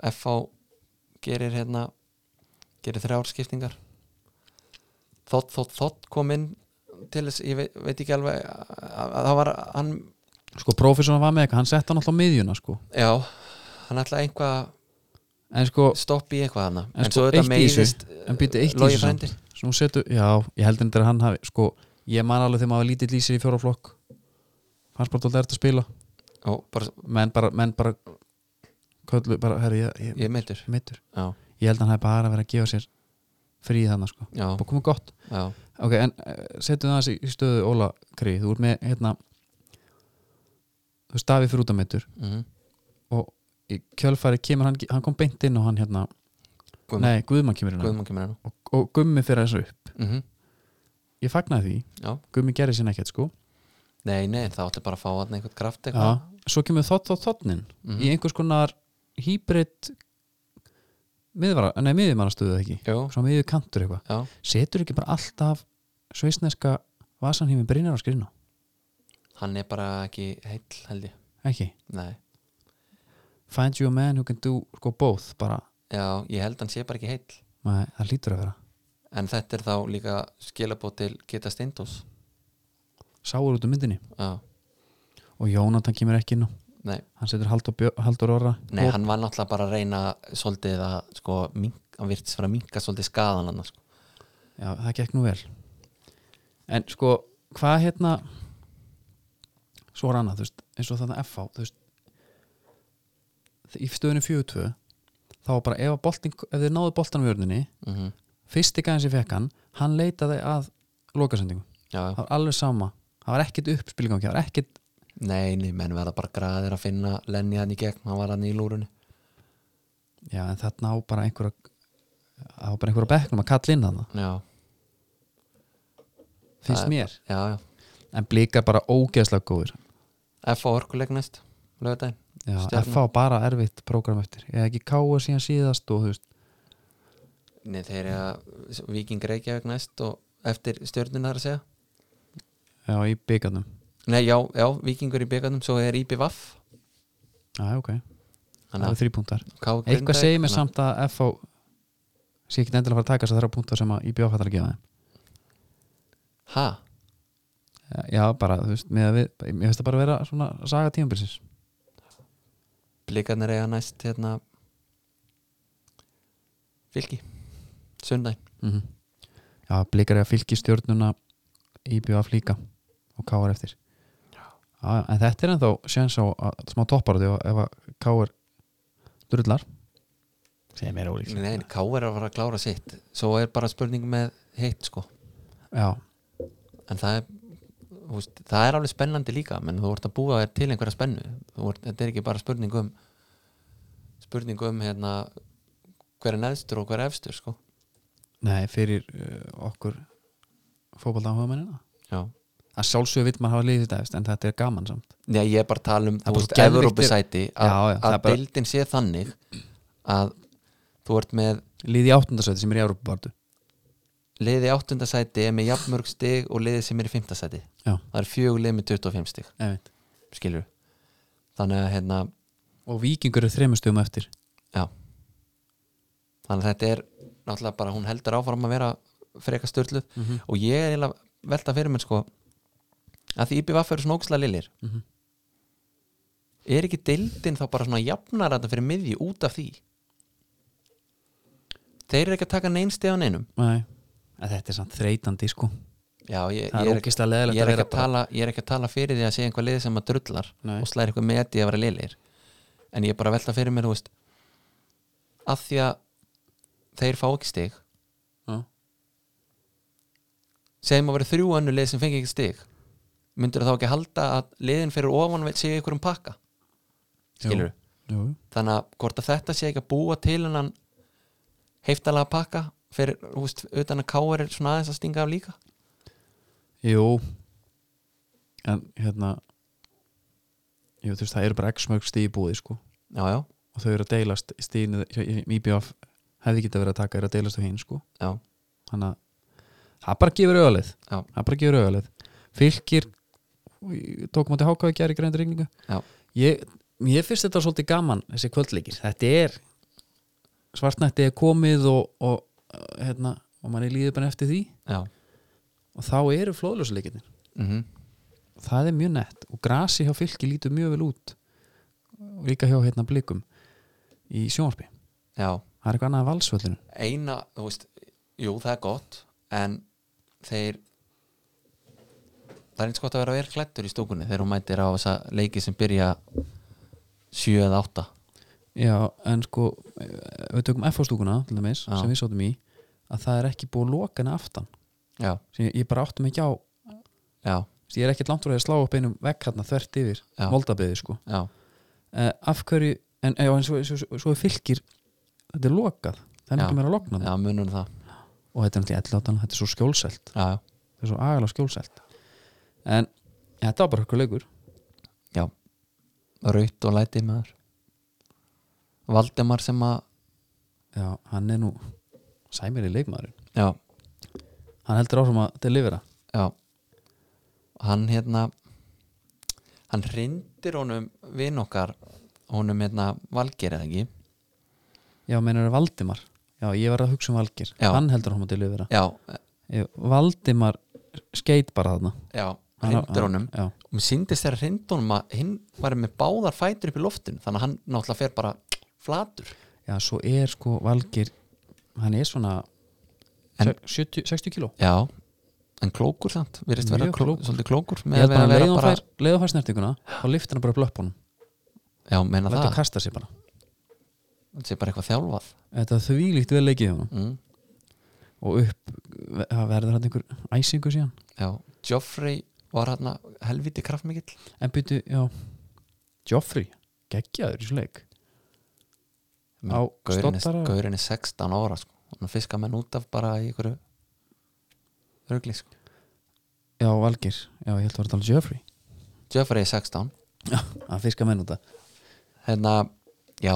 FH gerir hérna gerir þrjár skiptingar Þótt, þótt, þótt kom inn til þess, ég veit, veit ekki alveg að að það var, hann,
sko, prófessorna var með eitthvað, hann sett hann alltaf á miðjuna, sko
já hann ætlaði einhvað að
en sko,
stoppa í eitthvað hana
En sko, eitt í þessu, en býtu eitt í
Logi
þessu
frændi
samt. Svo hún setur, já, ég held endur að hann hafi sko, ég man alveg þegar maður var lítill í sér í fjóra flokk fannst bara alltaf eftir að spila
og bara,
menn bara, menn bara köllu, bara, herri, ég, ég,
ég er meittur
ég meittur
já,
ég held að hann hafi bara verið að gefa sér frí þannig sko,
já,
bara komið gott
já,
ok, en eh, setjum það aðeins í- í stöðu Óla Kri, þú ert með, hérna þú veist, Davíð fyrir út að meittur
mhm
og í kjölfæri kemur hann, hann kom beint inn og hann hérna,
Guðmann.
nei, Guðmann kemur inn á.
Guðmann kemur hérna
og, og Gummi fyrir þessu upp
mm
ég fagnaði því,
Já.
Gummi gerði sinna ekkert sko
Nei, nei, það átti bara að fá hann einhvern kraft eitthvað
Já, svo kemur þótt þótt þóttnin
Mhm.
í einhvers konar hýbrit miðvara, nei miðvimannastöðu ekki
Jú,
svo miður kantur eitthvað,
já,
setur ekki bara alltaf sveisneska vasanhými brinnar á skrinu,
hann er bara ekki heill held ég,
ekki
nei
find you a man who can do sko both bara,
Já, ég held hann sé bara ekki heill
nei, það lítur að vera
En þetta er þá líka skilabót til Geta Steindós
sáur út um myndinni
Já,
og Jónatan kemur ekki inn á
nei,
hann setur Halldór, Björ, Halldór Orra
nei
og,
hann var náttúrulega bara að reyna svolítið að sko, mink, hann virtist vera að minka svolítið skaðan hann sko.
já, það gekk nú vel en sko, hvað hérna svo er annað, þú veist, eins og þarna FH þú veist í stöðunni 4-2 þá var bara ef, að boltinn, ef þeir náðu boltan vörninni
mm -hmm.
fyrsti gæðin sem fekk hann hann leitaði að lokasendingu
Já,
það var alveg sama, það var ekkit uppspilgangi það var ekkit,
nei, nei, menn verða bara graðir að finna Lenny hann í gegn, hann var hann í lúrunni
já en þarna á bara einhverja það var bara einhverja á bekknum að kalla inn þarna
Já,
finnst
Það er
mér,
já, já
en blika bara ógeðslega góður
F á orkuleik næst, lögudaginn
já,
Stjarnan.
FH bara erfitt prógram eftir eða ekki káa síðan síðast og þú veist
Nei, þeir eru að Víking Reykjavík næst og eftir stjörnuna þar að segja
Já, í byggarnum
Nei, já, já, Víkingur í byggarnum, svo er IBVF
Já, ok, það
Þannig
eru þrý punktar
að
Eitthvað segir mér samt að FH sé ekki endilega að fara að taka þess að þrjá punktar sem að IBF hættar að gefa þeim
Hæ?
Já, bara, þú veist, með að við Ég veist það bara vera svona saga tímabilsins
blikarnir eiga næst hérna fylki sundæn
mm Já, blikar ég að fylgi stjórnuna IBF líka og KR eftir Já, já, en þetta er ennþá séns á að smá topparðu ef að KR drullar sem er ólíks
Nei, nei, K.R. er að fara að klára sitt svo er bara spurning með hitt sko
Já,
en það er, þú veist, það er alveg spennandi líka menn þú ert að búa þér til einhverja spennu Þú ert, þetta er ekki bara spurning um spurning um hérna hver er neðstur og hver er efstur sko
nei, fyrir uh, okkur fótboltaáhugamennina
já
að sjálfsögur vill maður hafa liðið þetta efst en þetta er gaman samt
Nei, ég er bara að tala um,
Það er bara
þú veist,
svo geðveikt
Evrópusæti
Já,
að,
já, það
að
er bara-
deildin sé þannig að þú ert með
liðið í áttundasöti sem er í Európa-bartu
liði áttunda sæti er með jafnmörg stig og liði sem er í fymta sæti
Já.
það er fjögur lið með 25 stig skilur þannig að hérna
og vikingur er þremur stugum eftir
já þannig að þetta er náttúrulega bara hún heldur áfram að vera freka störluð
mm -hmm.
og ég er eiginlega að velta fyrir mér sko að því IPVF eru svona ókslega lilir
Mhm.
er ekki deildin þá bara svona jafnar þetta fyrir miðju út af því þeir eru ekki að taka neinstegi á neinum
Nei, en þetta er samt þreytandi sko
Já, ég,
Það
ég,
er
er,
ókist að leðilegt
ég, er
að
ekki
vera
að
bara
tala, ég er ekki að tala fyrir því að segja einhver lið sem að drullar
Nei.
og slæðir eitthvað með því að vera lilir en ég er bara að velta fyrir mér þú veist, að því að þeir fá ekki stig
Já.
segjum að vera þrjú önnu lið sem fengi ekki stig myndur þá ekki halda að liðin fyrir ofan séu ykkur um pakka skilur
Jú, jú.
þannig að hvort að þetta sé ekki að búa til hennan heiftalega pakka fyrir, þú veist, utan að káir er svona aðeins að stinga af líka
jú En hérna Jú, þú veist, það eru bara ekki smörg stíð í búði sko
já, já,
og þau eru að deilast stíðinu IBF hefði geta verið að taka, eru að deilast á hinn sko
já,
þannig að það bara gefur auðalið
Já.
það bara gefur auðalið fylgir tókum átti hákaði gæri greindu regningu
Já.
ég, ég finnst þetta svolítið gaman þessi kvöldleikir, þetta er svartnætti er komið og, og eh, hérna, og manni líður bara eftir því
já
og þá eru flóðljósleikinir
mm
það er mjög nett og grasi hjá fylki lítur mjög vel út og líka hjá hérna blikum í sjónvarpi,
já,
það er eitthvað annað að valsvöldinu
eina, þú veist jú, það er gott, en þeir það er eins gott að vera verið klættur í stúkunni þegar hún mætir á þessa leiki sem byrja 7 eða 8
Já, en sko eh, við tökum FH-stúkuna til dæmis
Já.
sem við sáttum í að það er ekki búið að loka henni aftan
já,
sem ég, ég bara áttum ekki á
já,
ég er ekkert langt úr að slá upp einum vekk hérna þvert yfir
Já.
moldabeði sko
já,
eh, af hverju, en, eh, já, en svo, svo, svo, svo er fylgir þetta er lokað, það er
Já.
ekki meira að lokna það
já, munum það
og þetta er náttúrulega 11 átan, þetta er svo skjólselt
já, já,
þetta er svo agalega skjólselt en þetta var bara okkur leikur
raut og læti maður Valdemar sem að
já, hann er nú sæmir í leikmaðurinn,
já,
hann heldur áfram að delivera
já hann hérna hann hrindir honum vinn okkar honum hérna valgir eða ekki
Já, meinar Valdimar Já, ég var að hugsa um Valgir
Já.
Hann heldur hann að delivera
já,
Ég- Eh, Valdimar skeit bara þarna
já,
Hann-
hrindir
hann-
honum
Já,
og mér síndist þegar hrindir honum að hinn var með báðar fætur upp í loftinu þannig að hann náttúrulega fer bara flatur
já svo er sko Valgir Hann er svona
En-
70, 60 kíló
já, en klókur samt virðist vera
Mjög
kló,
klókur.
svolítið klókur
Ég held
að
bara að
vera
leiðum fær, leiðum fær snertinguna þá liftir hann bara upp löpunum
já, meina
Lætt að
það,
kasta sér bara
þetta er bara eitthvað þjálfað
Þetta er þvílíkt vel leikið hjá hann
mm,
og upp, það verður hann einhver æsingu síðan
já, Joffrey var hérna helviti kraftmikill
En byrju, já Joffrey, geggjaður í svo leik Á
gaurin er,
stottara-
gaurin er 16 ára sko. hann fiskar menn út af bara í ykkur rugli sko.
Já, Valgir, já, ég held að vera að tala um Joffrey
Jeffrey er 16
að fiska menn út að
hérna, já,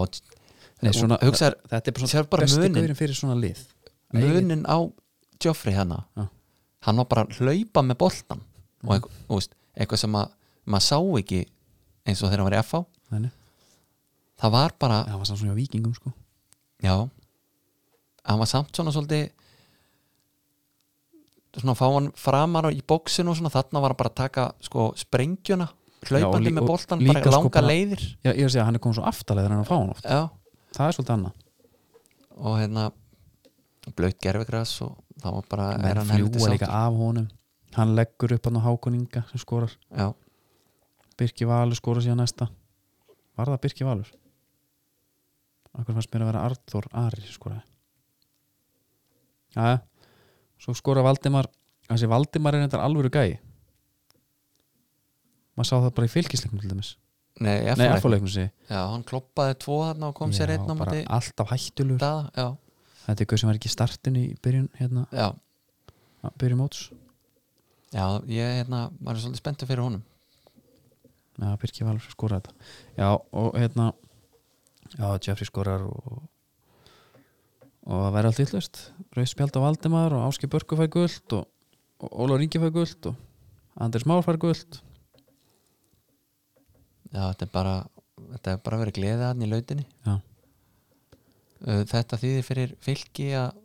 Nei, svona-
hugsaður
Þetta er bara
Sérðu bara
besti
muninn.
gaurinn fyrir svona lið
munin á Joffrey hérna
Já.
hann var bara að hlaupa með boltan og eitthvað, þú veist, eitthvað sem að maður sá ekki eins og þegar hann var í FH
Þannig,
það var bara,
það var samt svona hjá vikingum sko
já hann var samt svona svolítið svona fá hann framar í bóksinu og svona þarna var hann bara að taka sko sprengjuna
Já, og
hlaupandi
lí-
með
og
boltan,
líka
bara langa
sko bara-
leiðir
Já, ég er að segja að hann er komið svo aftalega þegar hann er að fá hann oft
já,
Það er svolítið annað
og hérna blöyt gerfigras og það var bara er
Menn
hann helviti
fljúa líka
sáttur
af honum Hann leggur upp hann á Hákoninga sem skorar
já,
Birki Valur skorar síðan næsta Var það Birki Valur? Akkur fannst mér að vera Arþór Ari sem skoraði Jæja Svo skorar Valdimar Þessi Valdimar er þetta alvöru gæi Maður sá það bara í fylgisleiknum til dæmis
nei,
Nei,
FH
F-leiknum sé ég.
Já, hann kloppaði tvo þarna og kom sér
Já,
einn á
bara
móti
alltaf hættulur
daða, já,
þetta er hvað sem var ekki í startinu í byrjun hérna,
já,
að byrjun móts
já, ég hérna var svolítið spenntur fyrir honum
já, Birki Valur skorar þetta já, og hérna já, Jeffrey skorar og og það væri allt yllust Rauðspjald á Valdimar og Áski Börku fær guld og, og Ólaf Ringi fær guld og Anders Már fær guld
Já, þetta er bara þetta er bara verið gleðið hann í lautinni
Já.
Uh, Þetta þýðir fyrir fylki að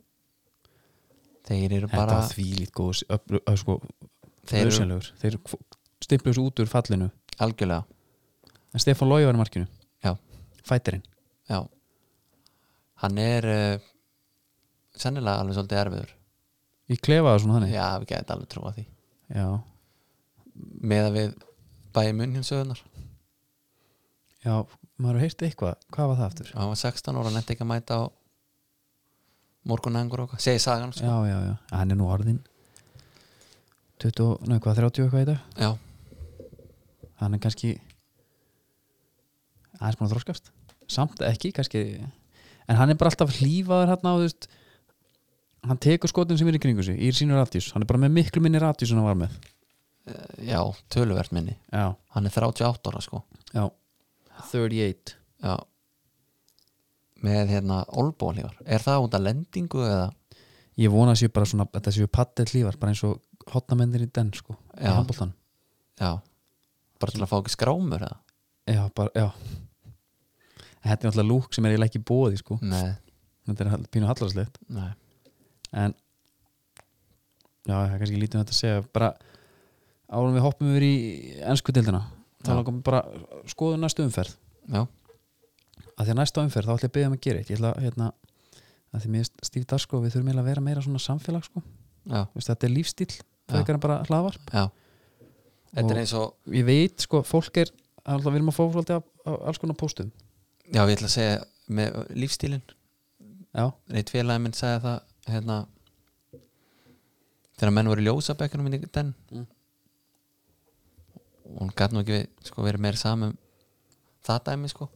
þeir eru
Þetta
bara
var því lít góð öflu- ö, sko,
þeir eru
nauðsynlegur. Þeir stimplu þessu út úr fallinu
algjörlega
En Stefán Lói var í markinu
Já.
Fætirinn
já. hann er uh, sennilega alveg svolítið erfiður
Ég klefaði svona þannig
já, við getum alveg trúa því
Já,
með að við bæði munn hins öðunar
Já, maður hefur heyrt eitthvað Hvað var það aftur?
hann var 16 ára, hann nefndi ekki að mæta á morgunengur og okkar, segi sagan sko.
Já, já, já, hann er nú orðin 20, neðu hvað, 30 eitthvað í dag
já,
Hann er kannski aðeins búin að þroskast Samt ekki, kannski En hann er bara alltaf hlífaður hérna á þú veist Hann tekur skotin sem er í kringu sig Í sínu ratjus, hann er bara með miklu minni ratjus en hann var með
já töluvert minni
Já,
hann er 38 ára sko
já 38
já með hérna olbólívar, er það út af lendingu eða
Ég vona að séu bara svona, þetta séu paddel hlífar bara eins og hotnamennir í den sko í
Já.
handbóltan
já, bara til að fá ekki skrámur eða
Já, bara, já En Þetta er náttúrulega lúk sem er eiginlega ekki bóði sko
nei,
Þetta er hall- pínu hallarslegt
nei,
En Já, það er kannski lítið um þetta að segja bara árum við hoppum yfir í ennsku dildina þá
Já.
langar mig bara að skoða næstu umferð
já,
að því að næstu umferð þá ætla ég að byggja um að gera eitt ég ætla hérna að því mér finnst Stíf Darsko við þurfum eiginlega að vera meira svona samfélag sko
já,
Vist, þetta er lífstíl
Já.
frekar en bara hlaðvarp
já þetta
Og-
er eins og,
ég veit sko, fólk er alltaf, við erum að fá fólk af, af alls konar póstum
já, ég ætla að segja með lífstílinn
já,
Eitt félagi minn sagði það hérna, þegar menn voru í ljósabekkanum minni den
Mm.
og hún gæti nú ekki við, sko, verið meira saman um það dæmi sko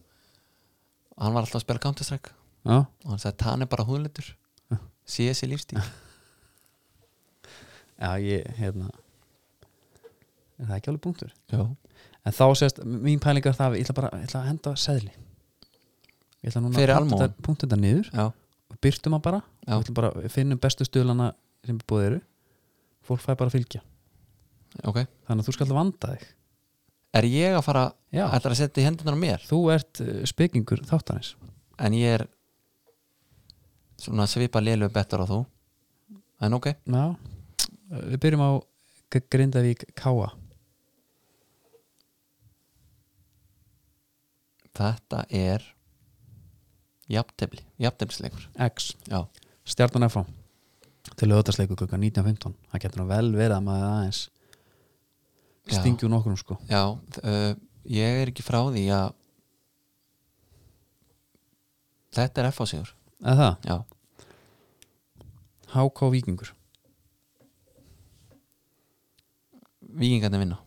hann var alltaf að spila Counter-Strike
já,
og hann sagði hann er bara húðlitur
Já.
sé þessi lífstíl
já ég, hérna er það ekki alveg punktur
já.
en þá sést, mín pælingar það ég ætla bara, ég ætla að henda seðli ég ætla núna
Fyrir
að punkta
almúgann?
þetta- punkta þetta niður
Já.
og byrtum að bara,
Já.
og við ætlum bara við finnum bestu stöðlana sem við búið eru fólk fær bara að fylgja,
ok
þannig að þú skal vanda þig
er ég að fara,
já,
ætlar að setja í hendunar á mér
þú ert uh, spekingur þáttanins
en ég er svona svipa lélu betur á þú en ok,
já, Uh, við byrjum á G- Grindavík Káa
þetta er jafntefli, jafnteflisleikur
X
já,
Stjartan F.A. til lögðarsleiku klukkan 19.15 það getur nú vel verið að maður aðeins
Já.
stingju nokkrum sko
já uh, ég er ekki frá því að þetta er F.A. sigur
eða það,
já,
HK Víkingur
vikingarnir vinna,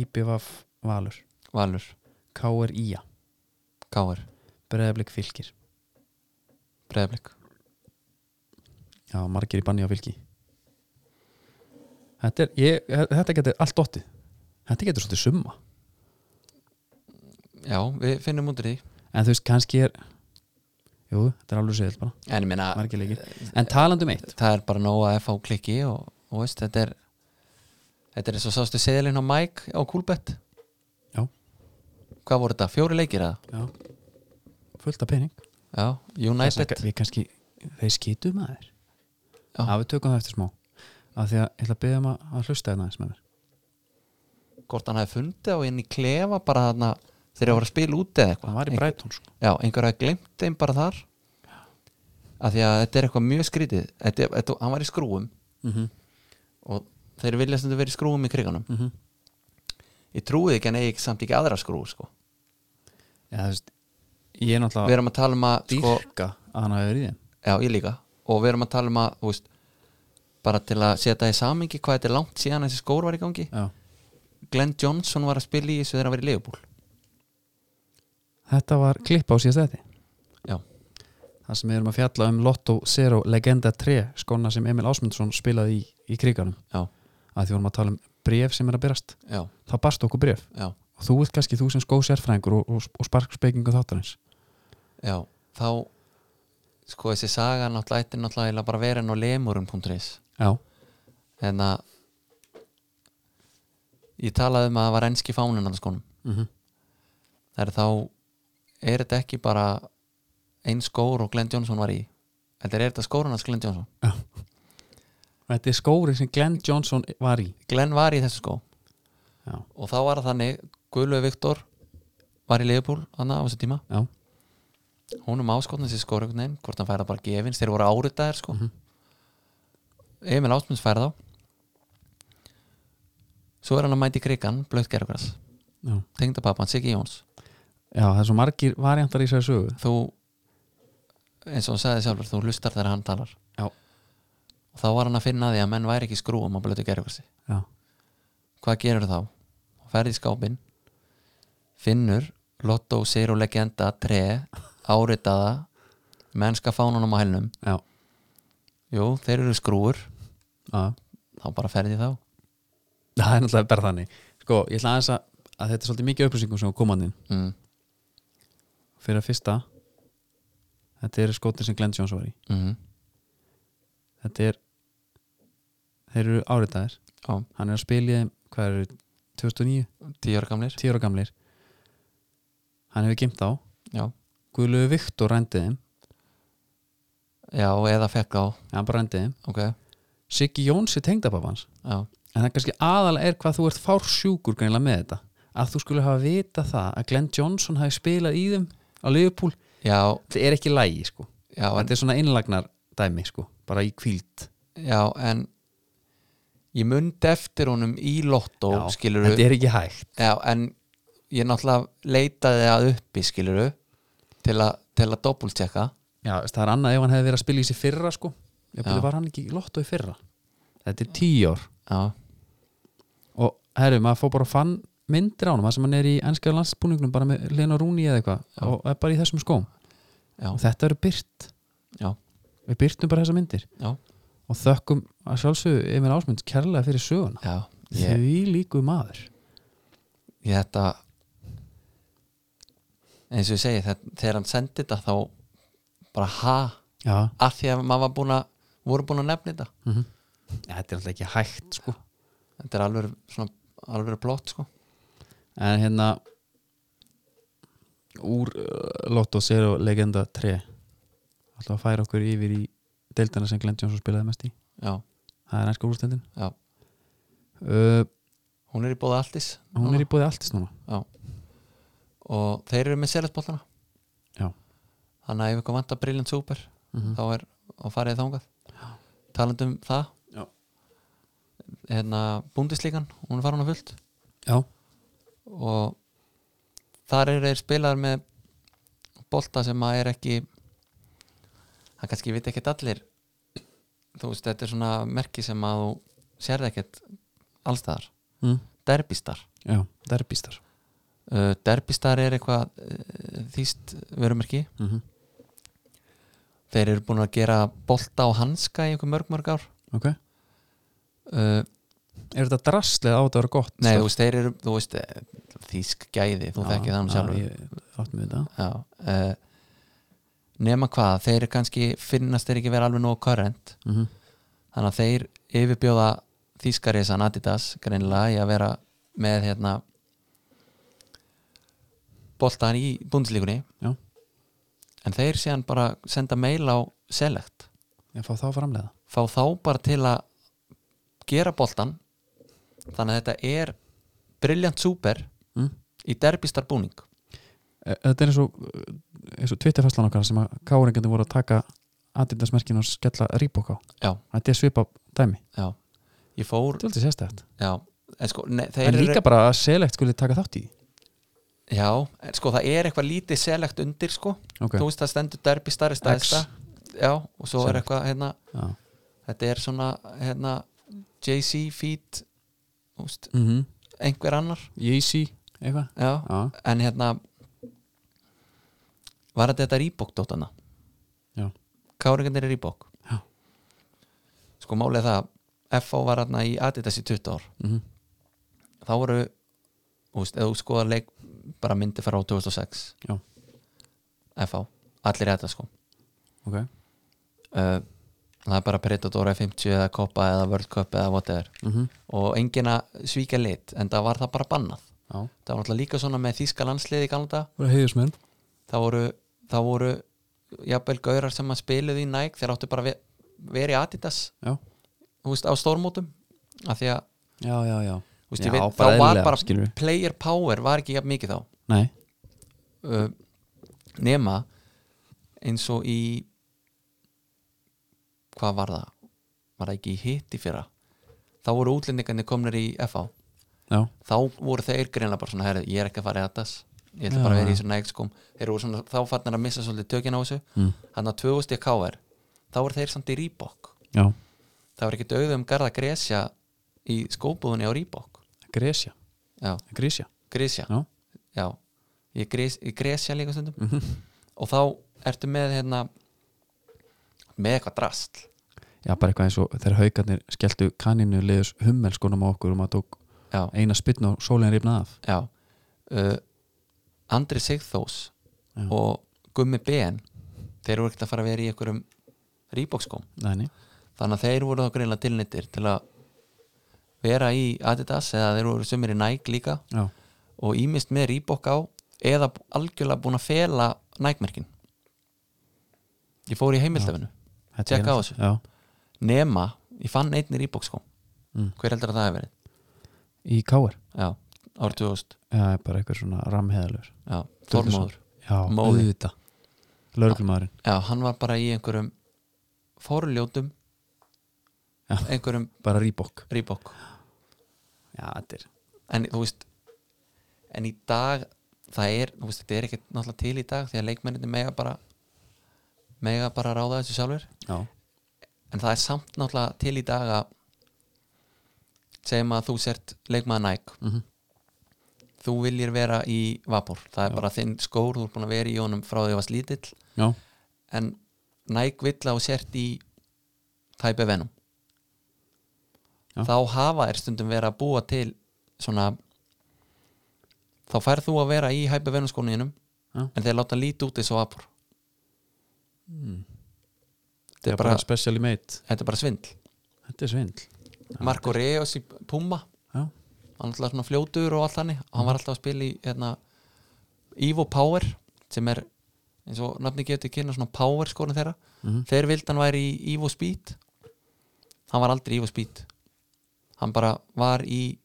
IBVF Valur,
Valur
KR IA
Káar,
Breiðablik Fylkir
Breiðablik
já, margir í banni á Fylki þetta, er, ég, þetta getur allt dottið þetta getur svolítið summa
já, við finnum út úr því
en þú veist, kannski er jú, þetta er alveg segil bara,
en ég meina,
margir leikir en talandum eitt,
það er bara nóg að F.A. klikki og, og veist, þetta er þetta er eins og sástu seðilinn á Mike á Kúlbett
Já.
hvað voru þetta, fjóri leikir eða?
eh, já fullt af pening
já, United
Þess að við kannski, þeir skýtu maður
Já.
að við tökum það eftir smá af því að ég ætla að byggja um að- að hlusta þetta aðeins með mér
hvort hann hafi fundið og inn í klefa bara þarna þegar það var að spila út eða
það
eitthvað
var í Breitón sko.
já, einhver hafi glemt þeim bara þar af því að þetta er eitthvað mjög skrítið þetta, er- þetta, hann var í skrúum
mm -hmm.
og þeir vilja sem þau verið í skrúum í kriganum
mhm.
ég trúið ekki hann eigi ekki- samt ekki aðra skrú sko.
Já, þú veist, ég er
við
náttúrulega
erum að tala um að sko,
dýrka að hann hafi verið í þeim
Já, ég líka og við erum að tala um að þú veist, bara til að setja í samingi hvað þetta er langt síðan þessi skór var í gangi
já.
Glenn Johnson var að spila í þessu þegar hann var í Leifbúl
þetta var klipp á síðast þetta
Já,
það sem við erum að fjalla um Lotto Zero Legenda 3 skona sem Emil Ásmundsson spilaði í, í kriganum
já,
að því vorum að tala um bref sem er að byrjast
já,
þá barst okkur bref
já,
og þú vilt kannski þú sem skóð sérfræðingur og, og, og sparkspekingu þáttarins
já þá sko þessi saga náttúrulega ætti náttúrulega eiginlega bara verið inn á lemurum.is
já,
en að Hérna, ég talaði um að það var enski fáninn að skonum
mm -hmm.
það er þá er þetta ekki bara einn skór og Glenn Johnson var í þetta er þetta skórun hans Glenn Johnson
já. þetta er skóri sem Glenn Johnson var í
Glenn var í þessu skó
Já.
og þá var það þannig Guðlöf Viktor var í Leifupúl hann á þessu tíma
Já.
húnum áskotnað sér skóra einhvern veginn hvort hann færa bara gefins, þeir voru áritaðir sko.
Mhm.
Emil Ásmunds færa þá svo er hann að mæti krigan blöðt gerugras,
Já.
tengda pappan Siggi Jóns
Já, það er svo margir variantar í þessari sögu
þú eins og hann sagði sjálfur, þú lustar þegar hann talar
Já.
og þá var hann að finna að því að menn væri ekki í skrúum á blötu gerugrasi
Já,
hvað gerur þá? ferði í skápinn finnur Lotto Zero Legenda 3 áritaða mennska fánunum á hælnum
já,
jú, þeir eru skrúur,
já
þá bara ferði þá
Það er náttúrulega bara þannig Sko, ég ætla aðeins að, að þetta er svolítið mikið upplýsingum sem komaðin
mm,
Fyrir að fyrsta Þetta eru skotin sem Glenn Johnson var í
mm,
Þetta er Þeir eru áritaðir
já,
Hann er að spila í þeim, hvað eru 2009,
tíu ára gamlir
10 ára gamlir Hann hefur geimt á
já,
Guðlöfu Viktor rændi þeim
já eða fekk á,
Hann bara rændi þeim
ok já,
Siggi Jóns er tengdababans en það kannski aðalega er hvað þú ert fársjúkur greinlega með þetta að þú skulle hafa vita það að Glenn Johnson hafi spilað í þeim á Liverpool
já,
þetta er ekki lægi sko
já en-
þetta er svona innlagnar dæmi sko bara í kvíld
Já, en ég mundi eftir honum í lottó,
Já,
skiluru
þetta er ekki hægt
Já, en ég náttúrulega leitaði að uppi, skiluru til, a, til að doppultjekka
Já, veist, það er annað ef hann hefði verið að spila í sér fyrra sko ég
Já.
byrja var hann ekki í lotto í fyrra þetta er tíu ár
Já,
og herru maður fór bara og fann myndir á hann maður sem hann er í ennska landsbúningnum bara með Lena Rúni eða eitthvað og er bara í þessum skóm
já,
og þetta eru byrt
já,
við byrtum bara þessa myndir
já,
og þökkum að sjálfsögðu Emil Ásmund kærlega fyrir söguna
já ég,
því líku maður
ég þetta eins og ég segi, þetta, þegar hann sendi þetta þá bara ha
já.
að því að maður var búin að voru búin að nefna þetta
Mhm. þetta er alltaf ekki hægt sko.
þetta er alveg svona, alveg plott, sko
en hérna úr uh, Lotto Zero Legenda 3 alltaf að færa okkur yfir í deildana sem Glenn Johnson spilaði mest í
Já,
það er ennska úrstendin
já,
uh,
hún er í bóða alltis
hún er í búið alltist núna
Já Og þeir eru með seletbóltana
Já.
Þannig að ef ykkur vantar Brilliant Super
Mhm.
þá er og farið þangað Talandi um það
Já.
Hérna búndislíkan, hún er farin á fullt
já,
og þar eru þeir spilaðar með bolta sem að er ekki það kannski veit ekkert allir þú veist, þetta er svona merki sem að þú sérð ekkert allstaðar,
mm.
derbistar
já það er býstar
uh, Derbistar er eitthvað uh, þýst verumerki
mm
þeir eru búin að gera bolta og hanska í einhver mörg mörg ár
ok,
uh,
er þetta drastlið á þetta að vera gott sko?
nei, þú veist, þeir eru þú veist, eh, þýsk gæði þú þekkið þannig sjálfur
já, ég átt með þetta
já, uh, nema hvað, þeir eru kannski finnast þeir ekki vera alveg nóg current
mm -hmm.
þannig að þeir yfirbjóða þýskarísan Adidas greinilega í að vera með hérna boltan í búndslíkunni
Já.
en þeir séðan bara senda mail á select
ég fá þá framlega
fá þá bara til að gera boltan þannig að þetta er brilljant super
mm.
í derbistar búning
Eh, þetta er eins og eh, eins og Twitterfæslan okkar sem að káringandi voru að taka Adidas merkinu og skella Reebok á
já,
þetta er svipa dæmi,
já ég fór,
þetta er aldrei sérstætt
já en sko, ne, þeir
en
eru-
líka bara að select skuli taka þátt í
já, en sko það er eitthvað lítið select undir sko,
ok,
þú veist það stendur derbistar í staðista, já og svo er
Select.
eitthvað hérna,
já
þetta er svona hérna, JC feed úst,
mm -hmm.
einhver annar
Yeezy, eitthvað
já,
já,
en hérna var þetta þetta Reebok dótana
Já.
Káringarnir er Reebok
Já.
sko málið er það FO var hérna í Adidas í 20 ár
mm
þá voru úst, eða þú skoðar leik bara myndi fara á 2006
Já.
FO, allir í Adidas sko
ok
uh, það er bara Predator F50 eða Copa eða World Cup eða whatever
mm -hmm.
og enginn að svíka lit en það var það bara bannað
já,
það var náttúrulega líka svona með þýska landsliði í galda
voru heiðismenn
það voru, það voru jafnvel gaurar sem að spiluðu í Nike þeir áttu bara að ve- vera í Adidas
já,
þú veist, á stórmótum af því að,
já, já, já
þú veist, ég
Já, bara
veit, þá var
eðlilega,
bara
skilur við.
player power var ekki jafn mikið þá
Nei,
uh, nema eins og í hvað var það var það ekki í hitti fyrra þá voru útlendingarnir komnir í FH
já,
þá voru þeir greinlega bara svona herri, ég er ekki að fara í Adidas ég ætla
Já,
bara að vera í
já.
þessu nægtskum þeir voru svona, þá farnir að missa svolítið tökina á þessu
mm,
þannig að 2000 í KR þá voru þeir samt í Reebok
já
það var ekki döðum garða Gresja í skóbúðunni á Reebok
Gresja,
já,
Gresja
Gresja
Já,
já, ég, grís, ég gresja líka stundum
Mhm.
og þá ertu með hérna með eitthvað drastl
já bara eitthvað eins og þegar haukarnir skelltu kaninu liðus hummelskunum á okkur og maður tók
já,
eina spytn og sólinn rifnaði af
já uh, Andri Sigþós
Já.
og Gummi BN þeir voru ekkert að fara að vera í einhverjum rýbókskóm,
Nei, nei,
þannig að þeir voru þá greinlega tilnittir til að vera í Adidas eða þeir voru sumir í Nike líka
já,
og ímist með rýbók á eða algjörlega búin að fela Nike-merkin ég fór í heimildafinu
þetta er
Tékka á
hérna-
þessu.
Já,
nema, ég fann einn í rýbókskom
Mm.
hver heldur að það hefur verið
í káar
já, árið 2000
Já, bara eitthvað svona ramheðalur
já, Þormóður,
Já,
Móði.
auðvita Lörglumæðurinn
já, hann var bara í einhverjum forljótum
Já.
einhverjum
Bara rýbokk
rýbók
Já, þetta er
en þú veist en í dag, það er þú veist, þetta er ekkert náttúrulega til í dag því að leikmenninni mega bara mega bara ráða þessu sjálfur
Já,
en það er samt náttúrulega til í dag að segjum að þú sért leikmaður næk
Mhm.
þú viljir vera í vapor það er
Já.
bara þinn skór, þú er búin að vera í honum frá því að varst lítill
já,
en næk vill að þú sért í tæpi venum
Já.
þá hafa er stundum verið að búa til svona þá færð þú að vera í hæpi venum skóninum
Já.
en þeir láta lítið út þessu vapor
þetta
þetta
er
er
Hmm. bara,
bara,
specially made
þetta er bara svindl
Þetta er svindl
Marko Reos í Puma
Já,
hann var alltaf svona fljótur og allt þannig og hann var alltaf að spila í hérna, Evo Power sem er eins og nafni getur kynna svona power skorun þeirra
Mhm.
þeir vildi hann væri í Evo Speed hann var aldrei í Evo Speed hann bara var í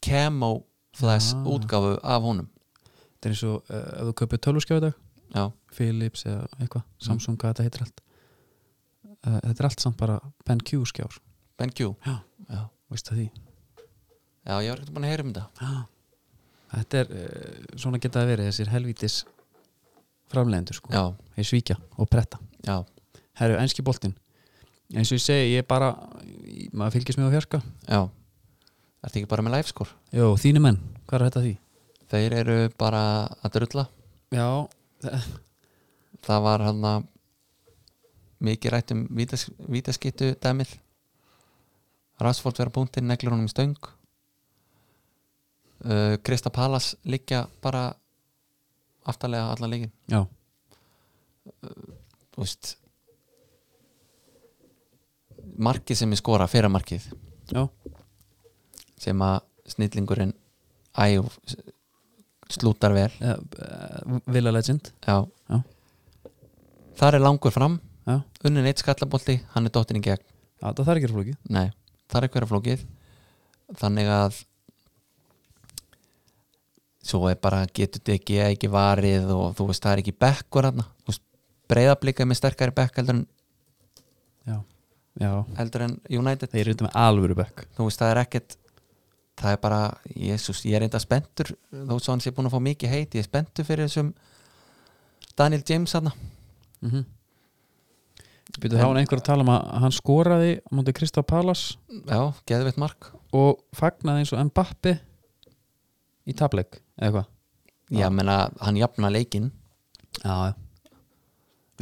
camo flash
Ah.
útgáfu af honum
þetta er eins og uh, ef þú kaupir tölvuskjöf í dag
já,
Philips eða eitthvað,
Mhm.
Samsung, hvað þetta heitir allt uh, Þetta er allt samt bara BenQ skjár,
BenQ
Já.
já.
veist það því
já, ég var ekkert búin að heyra um þetta
Já Þetta er, uh, svona geta það verið þessir helvítis framlegendur sko,
já,
þeir svíkja og pretta
já,
Herru, enski boltinn eins og ég segi, ég er bara ég- maður fylgist með á fjarka
já ertu ekki bara með live score
Jó, þínu menn, hvað er þetta því?
þeir eru bara að drulla
Já,
það var hann að mikið rætt um vítas, vítaskittu dæmið Rashford vera búntinn, neglur honum í stöng uh, Krista Palas liggja bara aftarlega allan leikin
já,
Þú veist, markið sem ég skora fyrra markið
já,
sem að snillingurinn æ, slútar vel
uh, uh, Villa Legend
já.
Já.
þar er langur fram
Já,
unnin eitt skallabolti, hann er dottin í gegn
já það þarf ekki að flókið
Nei, það er eitthvað flókið Þannig að Svo er bara getur þetta ekki, ekki varið og þú veist, það er ekki bekkur þarna Þú veist, breyðablika með sterkari bekk heldur en,
Já, já,
heldur en United
þeir eru þetta með alvöru bekk
Þú veist, það er ekkert Það er bara, jésús, ég er enda spenntur Þó svo hann sé búin að fá mikið heit Ég er spenntur fyrir þessum Daniel James þarna
mm -hmm. Býtu þá var einhver að tala um að hann skoraði á móti Kristaf Palas
Já, geðveitt mark
og fagnaði eins og Mbappi í tableik, eða hvað?
Já, menna, hann jafna leikinn
Já, já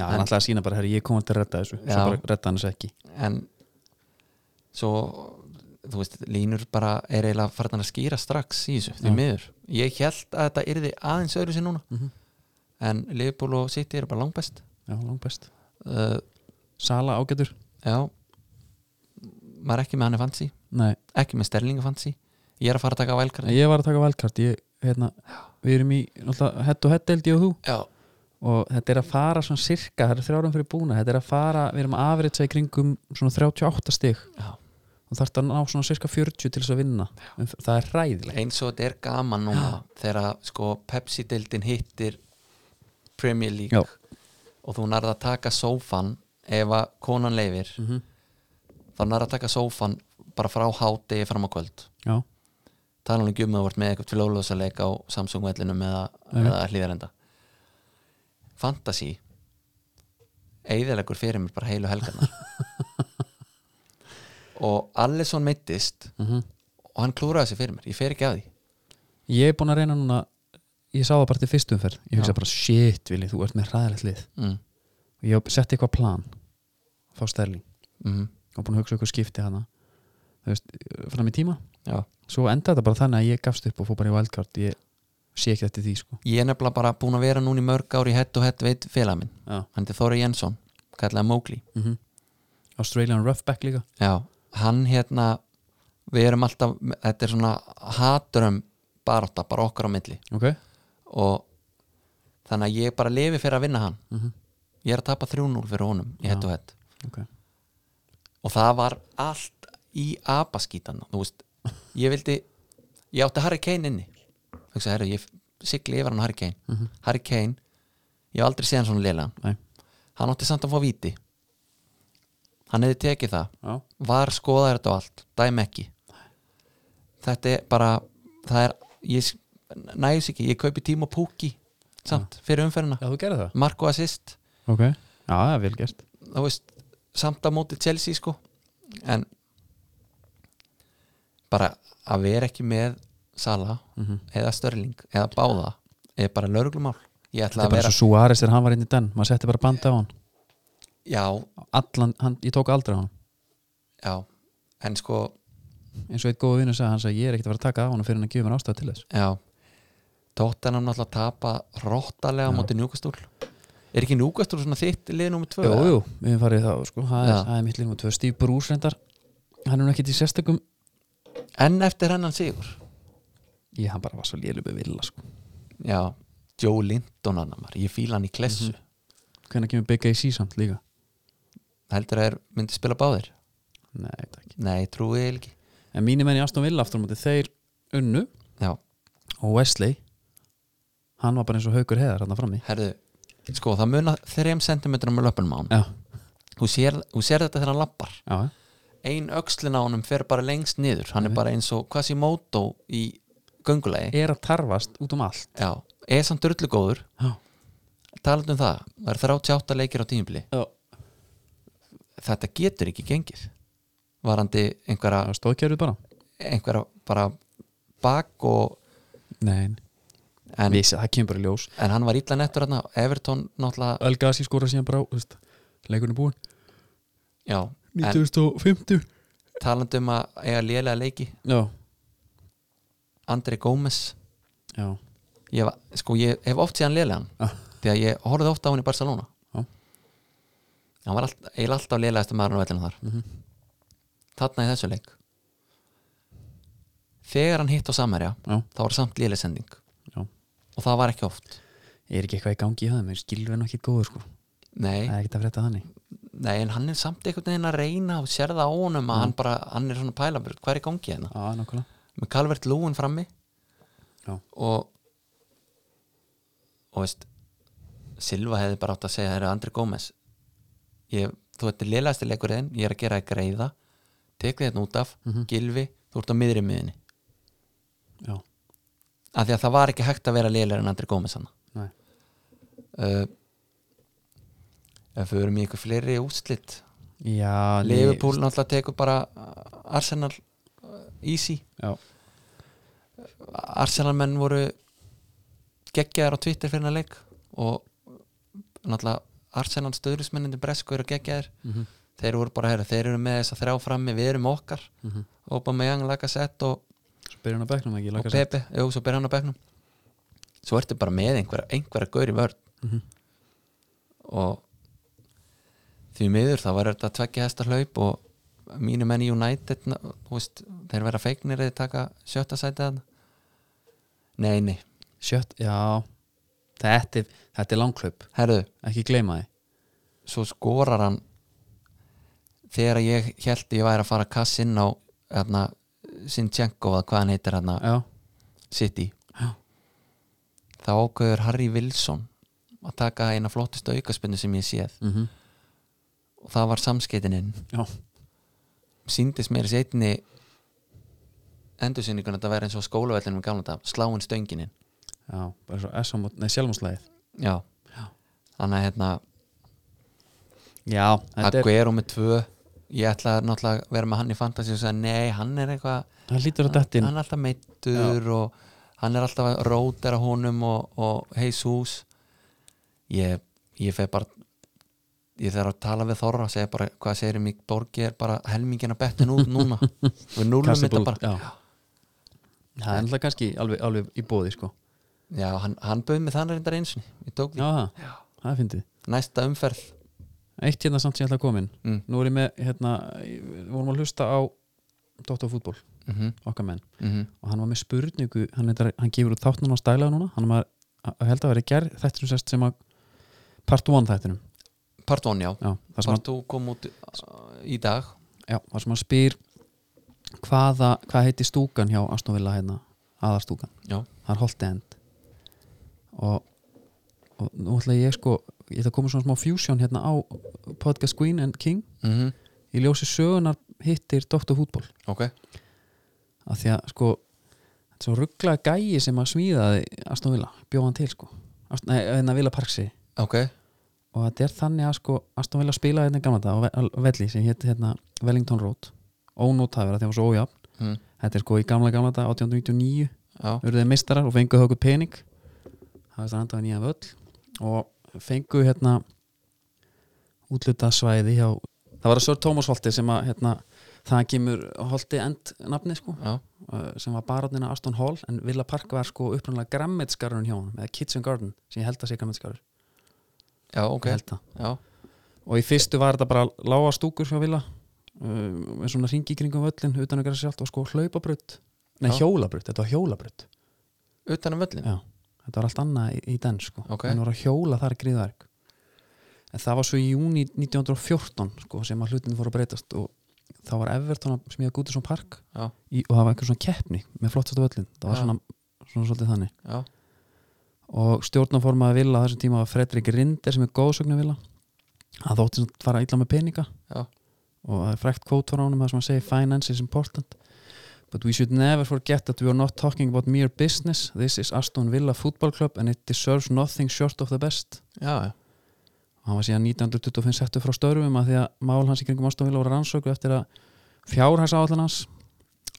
Já, hann
En-
ætlaði að sína bara, herri, ég kom til að redda þessu
Já.
Svo bara redda hann þessu ekki
en svo þú veist, línur bara er eiginlega farin að skýra strax í þessu, því
Já.
miður ég held að þetta yrði aðeins öðru sér núna
Mhm.
en Liverpool og City eru bara langbest
Já, langbest
uh,
Sala ágætur?
já maður er ekki með hann er fancy,
Nei,
ekki með Sterling fancy, ég er að fara að taka vælkarni
ég var að taka valkart ég, hérna, Við erum í, náttúrulega, hett og hett held ég og þú
já,
og þetta er að fara svona sirka, það er þrjárum fyrir búna þetta er að fara, við erum að afritsa í kringum svona 38 stig
Já.
og þarf að ná svona sirka 40 til þess að vinna en þa- það er ræðilegt
eins og þetta er gaman núna þegar sko Pepsi-deildin hittir Premier League
Já.
og þú nærð að taka sófan ef að konan leifir
mm
þá nærð að taka sófan bara frá hádegi fram á kvöld
já,
tala nú ekki um að þú vart með eitthvað fljóðlöðsaleik á Samsung vellinum eða,
Nei.
eða hlýðarenda Fantasí eigðilegur fyrir mér bara heilu helgarna og Allison meittist
mm
og hann klúraði sér fyrir mér, ég fer ekki að því
ég er búin að reyna núna ég sá það bara til fyrstu umferð ég hugsa
Já.
bara, shit Vili, þú ert með ræðilegt lið
mm.
og ég setti eitthvað plan fá stærling
Mm.
og búin að hugsa eitthvað skipti hana þú veist, fram í tíma
Já.
svo enda þetta bara þannig að ég gafst upp og fór bara í wildcard ég sé ekki eftir því sko
ég er nefnilega bara búin að vera núna í mörg ár í hett og hett veit félag minn
já.
hann er Þóri Jensson, kallaði Mowgli
Mm Australian Roughback líka
já, hann hérna við erum alltaf, þetta er svona haturum barátta, bara okkar á milli
ok
og þannig að ég bara lifi fyrir að vinna hann
mm -hmm.
ég er að tapa 3-0 fyrir honum í
Já.
hett og hett
ok
og það var allt í apaskítan þú veist, ég vildi ég átti Harry Kane inni Hugsa, herru, ég sigli yfir hann á Harry Kane Harry Kane, ég hef aldrei séð hann svona lélegan
Mhm. Nei.
hann átti samt að fá víti hann hefði tekið það
já.
var skoðaður þetta og allt, dæmi ekki þetta er bara það er, ég nægjus ekki ég kaupi tíma púki samt, fyrir umferðina,
já, þú gerði það
Marko assist
ok, já, það er vel gert
þú veist, samt að móti Chelsea sko en bara að vera ekki með Sala
Mhm.
eða Störling eða Báða er bara lörglumál ég
það
ætla
er
að
bara
vera
svo Suárez þegar hann var inn í den maður setti bara banda á hann,
já,
Allan, hann ég tók aldrei á hann
já, en sko
eins og eitt góða vinnu sagði hann sagði ég er ekkert að fara að taka á hann fyrir hann að gefa mér ástæðu til þess
já, Tottenham náttúrulega tapa róttalega á
Já.
móti njúkastúl er ekki njúkastúl svona þitt lið nummer tvö?
jú, jú, við hefum farið í það sko það er,
Já.
það er mitt línum og tvö Steve Bruce reyndar hann er nú ekkert í sérstakum
en eftir hennan sigur
ég hann bara var svo lélum við vilja sko
já, Joe Linton annar ég fíla hann í klessu
Mhm.
mm
hvernig kemur Big AC samt líka
heldur að þeir myndi spila báðir
nei, takk
nei, trúið ég ekki
en mínir menn í Aston Villa aftur á móti þeir unnu
já,
og Wesley hann var bara eins og haukur heðar hann fram í
herðu, sko það muna þreim sentimetrum með löpunum á hann
já,
þú sér, þú sér þetta þegar hann lappar
já,
ein öxlin á honum fer bara lengst niður hann er
Einmitt.
bara eins og Quasimodo í göngulegi
er að tarfast út um allt
já, er samt drullu góður
já,
talandi um það, það er 38 leikir á tímabili
já.
þetta getur ekki gengið varandi einhverja,
stóðkerfið bara
einhverja bara bak og
nei,
en,
vissi, það kemur bara í ljós
en hann var illa nettur hann Everton náttúrulega
Elgasi skora síðan bara á þú veist, leikurinn er búinn
já, en
1950
talandi um að eiga lélega leiki
já,
Andri Gómez
já,
ég, var- sko, ég hef oft séð hann lélegan
Já.
því að ég horfði oft á hann í Barcelona
Já.
hann var alltaf, eiginlega alltaf lélegasti maður á vellinu þar
mm
þarna í þessu leik þegar hann hitt á Samarja
já.
þá var samt léleg sending
Já.
og það var ekki oft
er ekki eitthvað í gangi í það mér skilfið nú ekki góður sko
nei,
það er ekkert að frétta þannig
nei, en hann er samt einhvern veginn að reyna og sér það á honum
Mhm.
að hann bara, hann er svona pælabur hvað er í gangi hérna,
já, nákvæmlega
með Calvert Lúin frammi
Já.
og og veist Silva hefði bara átt að segja, það eru Andri Gómez ég, þú ert lélægasti leikurinn ég er að gera ekki reyða tekið þetta hérna út af,
Mhm.
gilvi þú ert á miðri miðinni
já,
af því að það var ekki hægt að vera lélægur en Andri Gómez hann
nei,
uh, ef við verum í ykkur fleiri útslitt
já
Liverpool náttúrulega tekur bara uh, Arsenal uh, easy
já,
Arsenal menn voru geggjaðar á Twitter fyrir hennar leik og náttúrulega Arsenal stöðlismenninni Bresku eru geggjaðar
mm -hmm.
þeir voru bara herra, þeir eru með þess að þrjá frammi við erum okkar, Aubameyang, Lacazette og,
mhm. svo byrjar hann að bekna ekki
og
lakar sér.
Pepe, jú, svo ber hann á bekknum svo ertu bara með einhverja einhverja gaur í vörn
Mhm.
og því miður þá var þetta tveggja hesta hlaup og mínu menn í United na- þú veist, þeir vera feiknir eða taka sjötta sætið hann nei, nei,
Sjött, já þetta er, þetta er langklaup,
herðu,
ekki gleyma því
svo skorar hann þegar ég held ég væri að fara að kass inn á hérna, Sinchenko eða hvað hann heitir hérna,
já,
City
Já.
þá ákveður Harry Wilson að taka eina flottustu aukaspunni sem ég séð
mm
og það var samskeitininn
já,
síndist mér þessi einni endursynningun að þetta væri eins og skólavellinum í gamla dag, sláin stöngininn
já, bara svo S-á mót, nei, sjálfmótslæðið
já, þannig að hérna
já, þetta er,
Aguero með tvö ég ætla náttúrulega að vera með hann í fantasy og segja nei, hann er eitthvað
það lítur að
hann
dettin
er alltaf meittur og hann er alltaf að rótera honum og, og heis hús ég, ég fer bara ég þarf að tala við Þorra segja bara hvað segir mig borgi er bara helmingin að bettin út núna við núlum
Kasta
þetta
bara út,
bara
já. það er alltaf kannski alveg, alveg í bóði sko.
já, hann, hann bauð mig þannig reyndar einsinni ég tók því
já, það, það finnst þið
næsta umferð
eitt hérna samt sem ég ætla að koma inn
mm.
nú er ég með, hérna, við vorum að hlusta á Dóttar fútból,
Mm -hmm.
okkar menn
Mm -hmm.
og hann var með spurningu hann, heitar, hann gefur út þáttunum á stælega núna hann var, að held að vera í gerð þættinum sest sem að part 1 þættinum
part 1 já,
já, þar sem,
part 2 kom út uh, í dag
hann, já, þar sem hann spyr hvaða, hvað heiti stúkan hjá Aston Villa hérna, aðarstúkan
já,
það er Holt End og, og nú ætla ég sko ég ætla að koma svona smá fusion hérna á podcast Queen and King
mm
í ljósi sögunar hittir Dr. Fútbol
ok
af því að sko þetta er svo ruggla gæi sem að smíðaði Aston Villa, bjóð hann til sko Ast, nei, hérna Villa Parksi
ok,
og þetta er þannig að sko Aston Villa spilaði hérna í gamla dag á ve- á velli sem hétt hérna Wellington Road ónótafir að þeim var svo ójafn
mm.
þetta er sko í gamla gamla dag 1899
já,
urðu þeir meistarar og fenguðu okkur pening það var það handaði nýja völl og fenguðu hérna útlutað svæði hjá það var að Sör Tómas Holti sem að hérna, það kemur Holti end nafni sko
já,
uh, sem var barónina Aston Hall en Villa Park var sko upprannlega grammetsgarun hjá hann eða Kitchen Garden sem ég held að sé grammetsgarur
já, ok
ég held það
já,
og í fyrstu var þetta bara lága stúkur hjá Villa um, með svona ringi kringum völlin utan að gera sjálft og sko hlaupabrut nei
Já.
hjólabrut, þetta var hjólabrut
utan um völlin
já, þetta var allt annað í, í den sko
Ok.
en voru að hjóla þar gríðverk en það var svo í júni 1914 sko sem að hlutin fóru að breytast og þá var Everton að smíða gútið svona park
Já.
í, og það var einhver svona keppni með flottasta völlin það var
Já.
svona, svona svolítið þannig
já,
og stjórnaformaði Villa á þessum tíma var Fredrik Rinder sem er góðsögnu Villa hann þótti að fara illa með peninga
Já.
og það er frækt kvót frá honum það sem hann segir finance is important but we should never forget that we are not talking about mere business this is Aston Villa football club and it deserves nothing short of the best
já, já.
og hann var síðan 1925 settur frá störfum að því að mál hans í kringum Aston Villa voru rannsöku eftir að fjárhæsáallan hans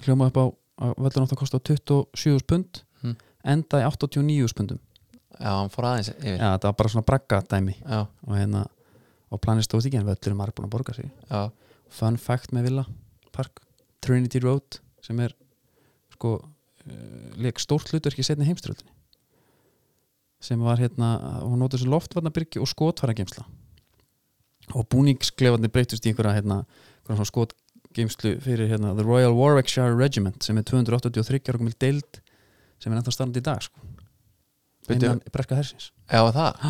hljóma upp á að völlur átt að kosta 27 pund
Hmm.
enda í 89 pundum
já, hann fór aðeins yfir
Já, þetta var bara svona bragga dæmi
já,
og hérna og planið stóð ekki en völlur er marg búin að borga sig
já,
fun fact með Villa Park, Trinity Road sem er sko uh, leik stórt hlutverki setni heimströldinni sem var hérna hún nótið sem loftvarnabyrgi og skotfærageimsla og búningsklefarnir breytust í einhverja hérna einhverja svona skotgeimslu fyrir hérna The Royal Warwickshire Regiment sem er 283 ára komil deild sem er ennþá starrandi í dag sko
Bíddu.
innan breska hersins
já, það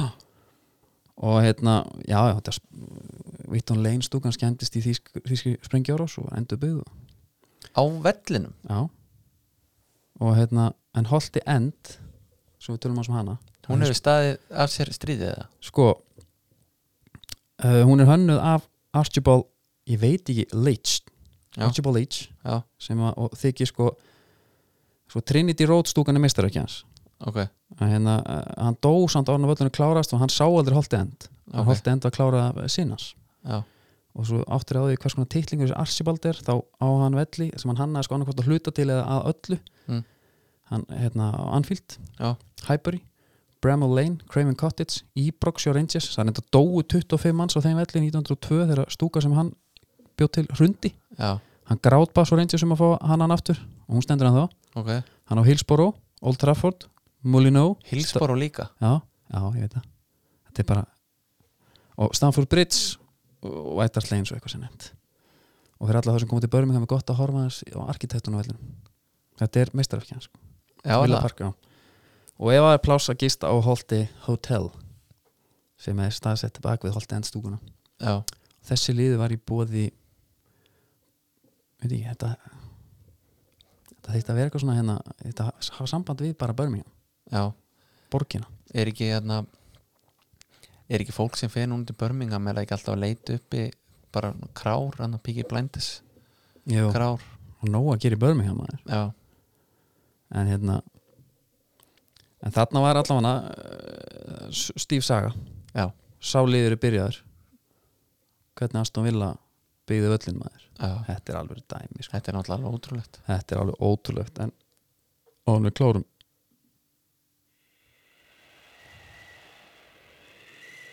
og hérna, já, já þetta Vitton Lane stúkan skemmtist í þýsk- þýski sprengjárás og endur byggðu
á vellinum,
já og hérna, en Holti End svo við tölum á sem hana
hún hefur staðið af sér stríðið eða
sko uh, hún er hönnuð af Archibald, ég veit ekki, Leach
Já.
Archibald Leach
já,
sem að, og þykir sko sko Trinity Road stúkan er meistar ekki hans
ok,
að hérna, uh, hann dó samt árna völlunum klárast og hann sá aldrei Holti End okay.
Ok.
Holti End var klárað sinnas
já,
og svo áttur á því hvers konar titlingu þessi Archibald er, þá á hann velli sem hann hannaði sko annarkvort að hluta til eða að öllu
Mm.
hann, hérna, á Anfield
Já.
Highbury, Bramall Lane Craven Cottage, Ebrox og Rangers það er enda dóu 25 manns á þeim velli 1902 þegar stúka sem hann bjóð til hrundi,
já,
hann grátbaði svo Rangers um að fá hann hann aftur og hún stendur hann þá,
ok
hann á Hillsborough Old Trafford, Mullinó
Hilsboro líka,
Já, já, ég veit það Þetta er bara og Stanford Bridge og Whitehart Lane svo eitthvað sem nefnt og fyrir alla þá sem komið til börjum það er gott að horfa hans á arkitektunum vellinum Þetta er meistarafkjæðan sko
já,
Villa
það
Park, já. og ef það er pláss að gista á Holti Hotel sem er staðsett bak við Holti endstúkuna
já,
þessi liði var í bóði veit ekki, þetta þetta þýtti að vera eitthvað svona hérna þetta hafa samband við bara Birmingham,
já
borgina
er ekki hérna er ekki fólk sem fer núna til Birmingham er það ekki alltaf að leita uppi bara krár, hann að píki blindis
Jú.
krár,
og nóg að gera í Birmingham maður.
já,
en hérna en þarna var allavega uh, Steve Saga
Já.
sá liður er byrjaður hvernig Aston Villa byggði völlin maður
já
þetta er alveg dæmi sko.
þetta er náttúrulega alveg ótrúlegt
þetta er alveg ótrúlegt en og hann er klárum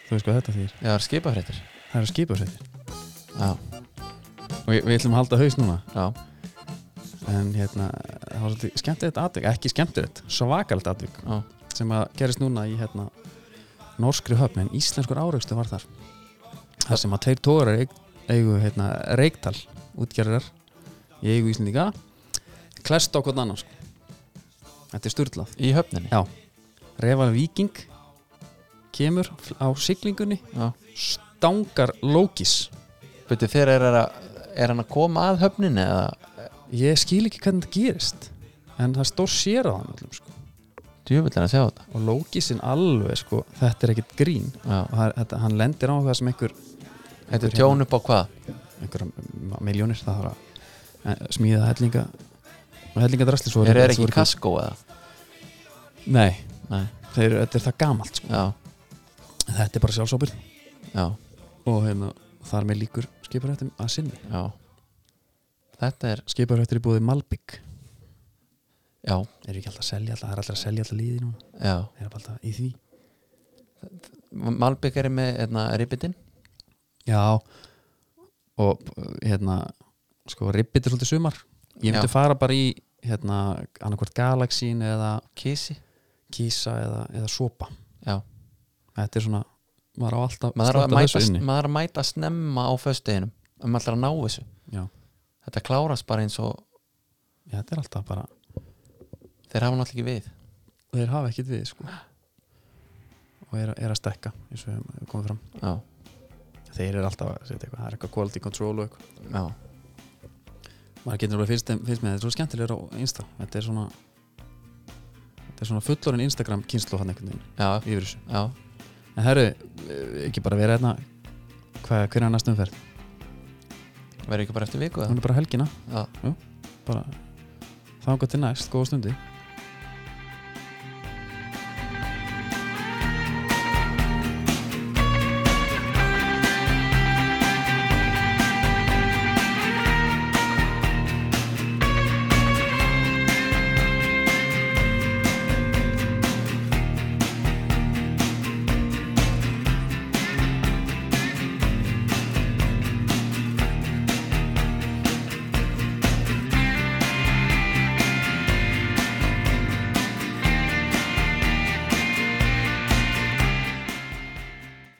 þú veist hvað þetta þýr
já, það er skipafréttir
það eru skipafréttir
já,
og við, við ætlum að halda haus núna
já,
en hérna það var svolítið skemmtilegt atvik ekki skemmtilegt, svakalegt atvik
já,
sem að gerist núna í hérna norskri höfn en íslenskur áraugstur var þar þar sem að tveir tórar eigu hérna reiktal útgerðar í eigu íslendinga klest á hvern annan sko. þetta er sturlað
í höfninni
Já. Reval Viking kemur á siglingunni
já,
stangar Lókis
betur þeir er, að, er hann að koma að höfninni eða,
ég skil ekki hvernig þetta gerist en það stór sér á hann öllum, sko.
djúvill er að sjá þetta
og Lókisinn alveg sko, þetta er ekkert grín
já,
og það, er- þetta, hann lendir á það sem einhver
þetta er tjón upp á hvað
einhverja miljónir það þarf að eh, smíða hellinga hellingadrasli svo
þeir eru
svo
ekki í kaskó eða
nei,
nei,
þeir, þetta er það gamalt sko.
já,
þetta er bara sjálfsópil
já,
og hérna, þar með líkur skiparhættum að sinni
já þetta er,
skiparhættur í búið Malbygg
já,
er ekki alltaf að selja alltaf, það er alltaf að selja alltaf líði núna
já
þeir eru bara alltaf í því
Malbygg er með hérna, ribbitinn
já og hérna sko ribbit er svolítið sumar ég myndi
Já.
fara bara í hérna annarkvort Galaxín eða
kísi
Kísa eða, eða Sopa
Já.
þetta er svona maður á alltaf
maður er, að
standa
mæta,
þessu inni.
maður er að mæta snemma á föstudeginum um allra að ná þessu
Já.
þetta klárast bara eins og
Já, þetta er alltaf bara
þeir hafa náttúrulega ekki við
þeir hafa ekkit við sko. og er, er að stekka eins og við komum fram
já,
þeir eru alltaf að setja eitthvað, það er eitthvað quality control og eitthvað
já,
maður getur alveg fylgst, þeim- fylgst með þetta, þetta er svo skemmtilegur á Insta þetta er svona þetta er svona fullorinn Instagram kynslu hann einhvern veginn
já,
yfir þessu
já.
en herru, eh, ekki bara vera hérna hvað, hvernig er næstum umferð? Mm.
verður ekki bara eftir viku eða?
hún er bara helgina,
já,
bara þangað til næst, góða stundi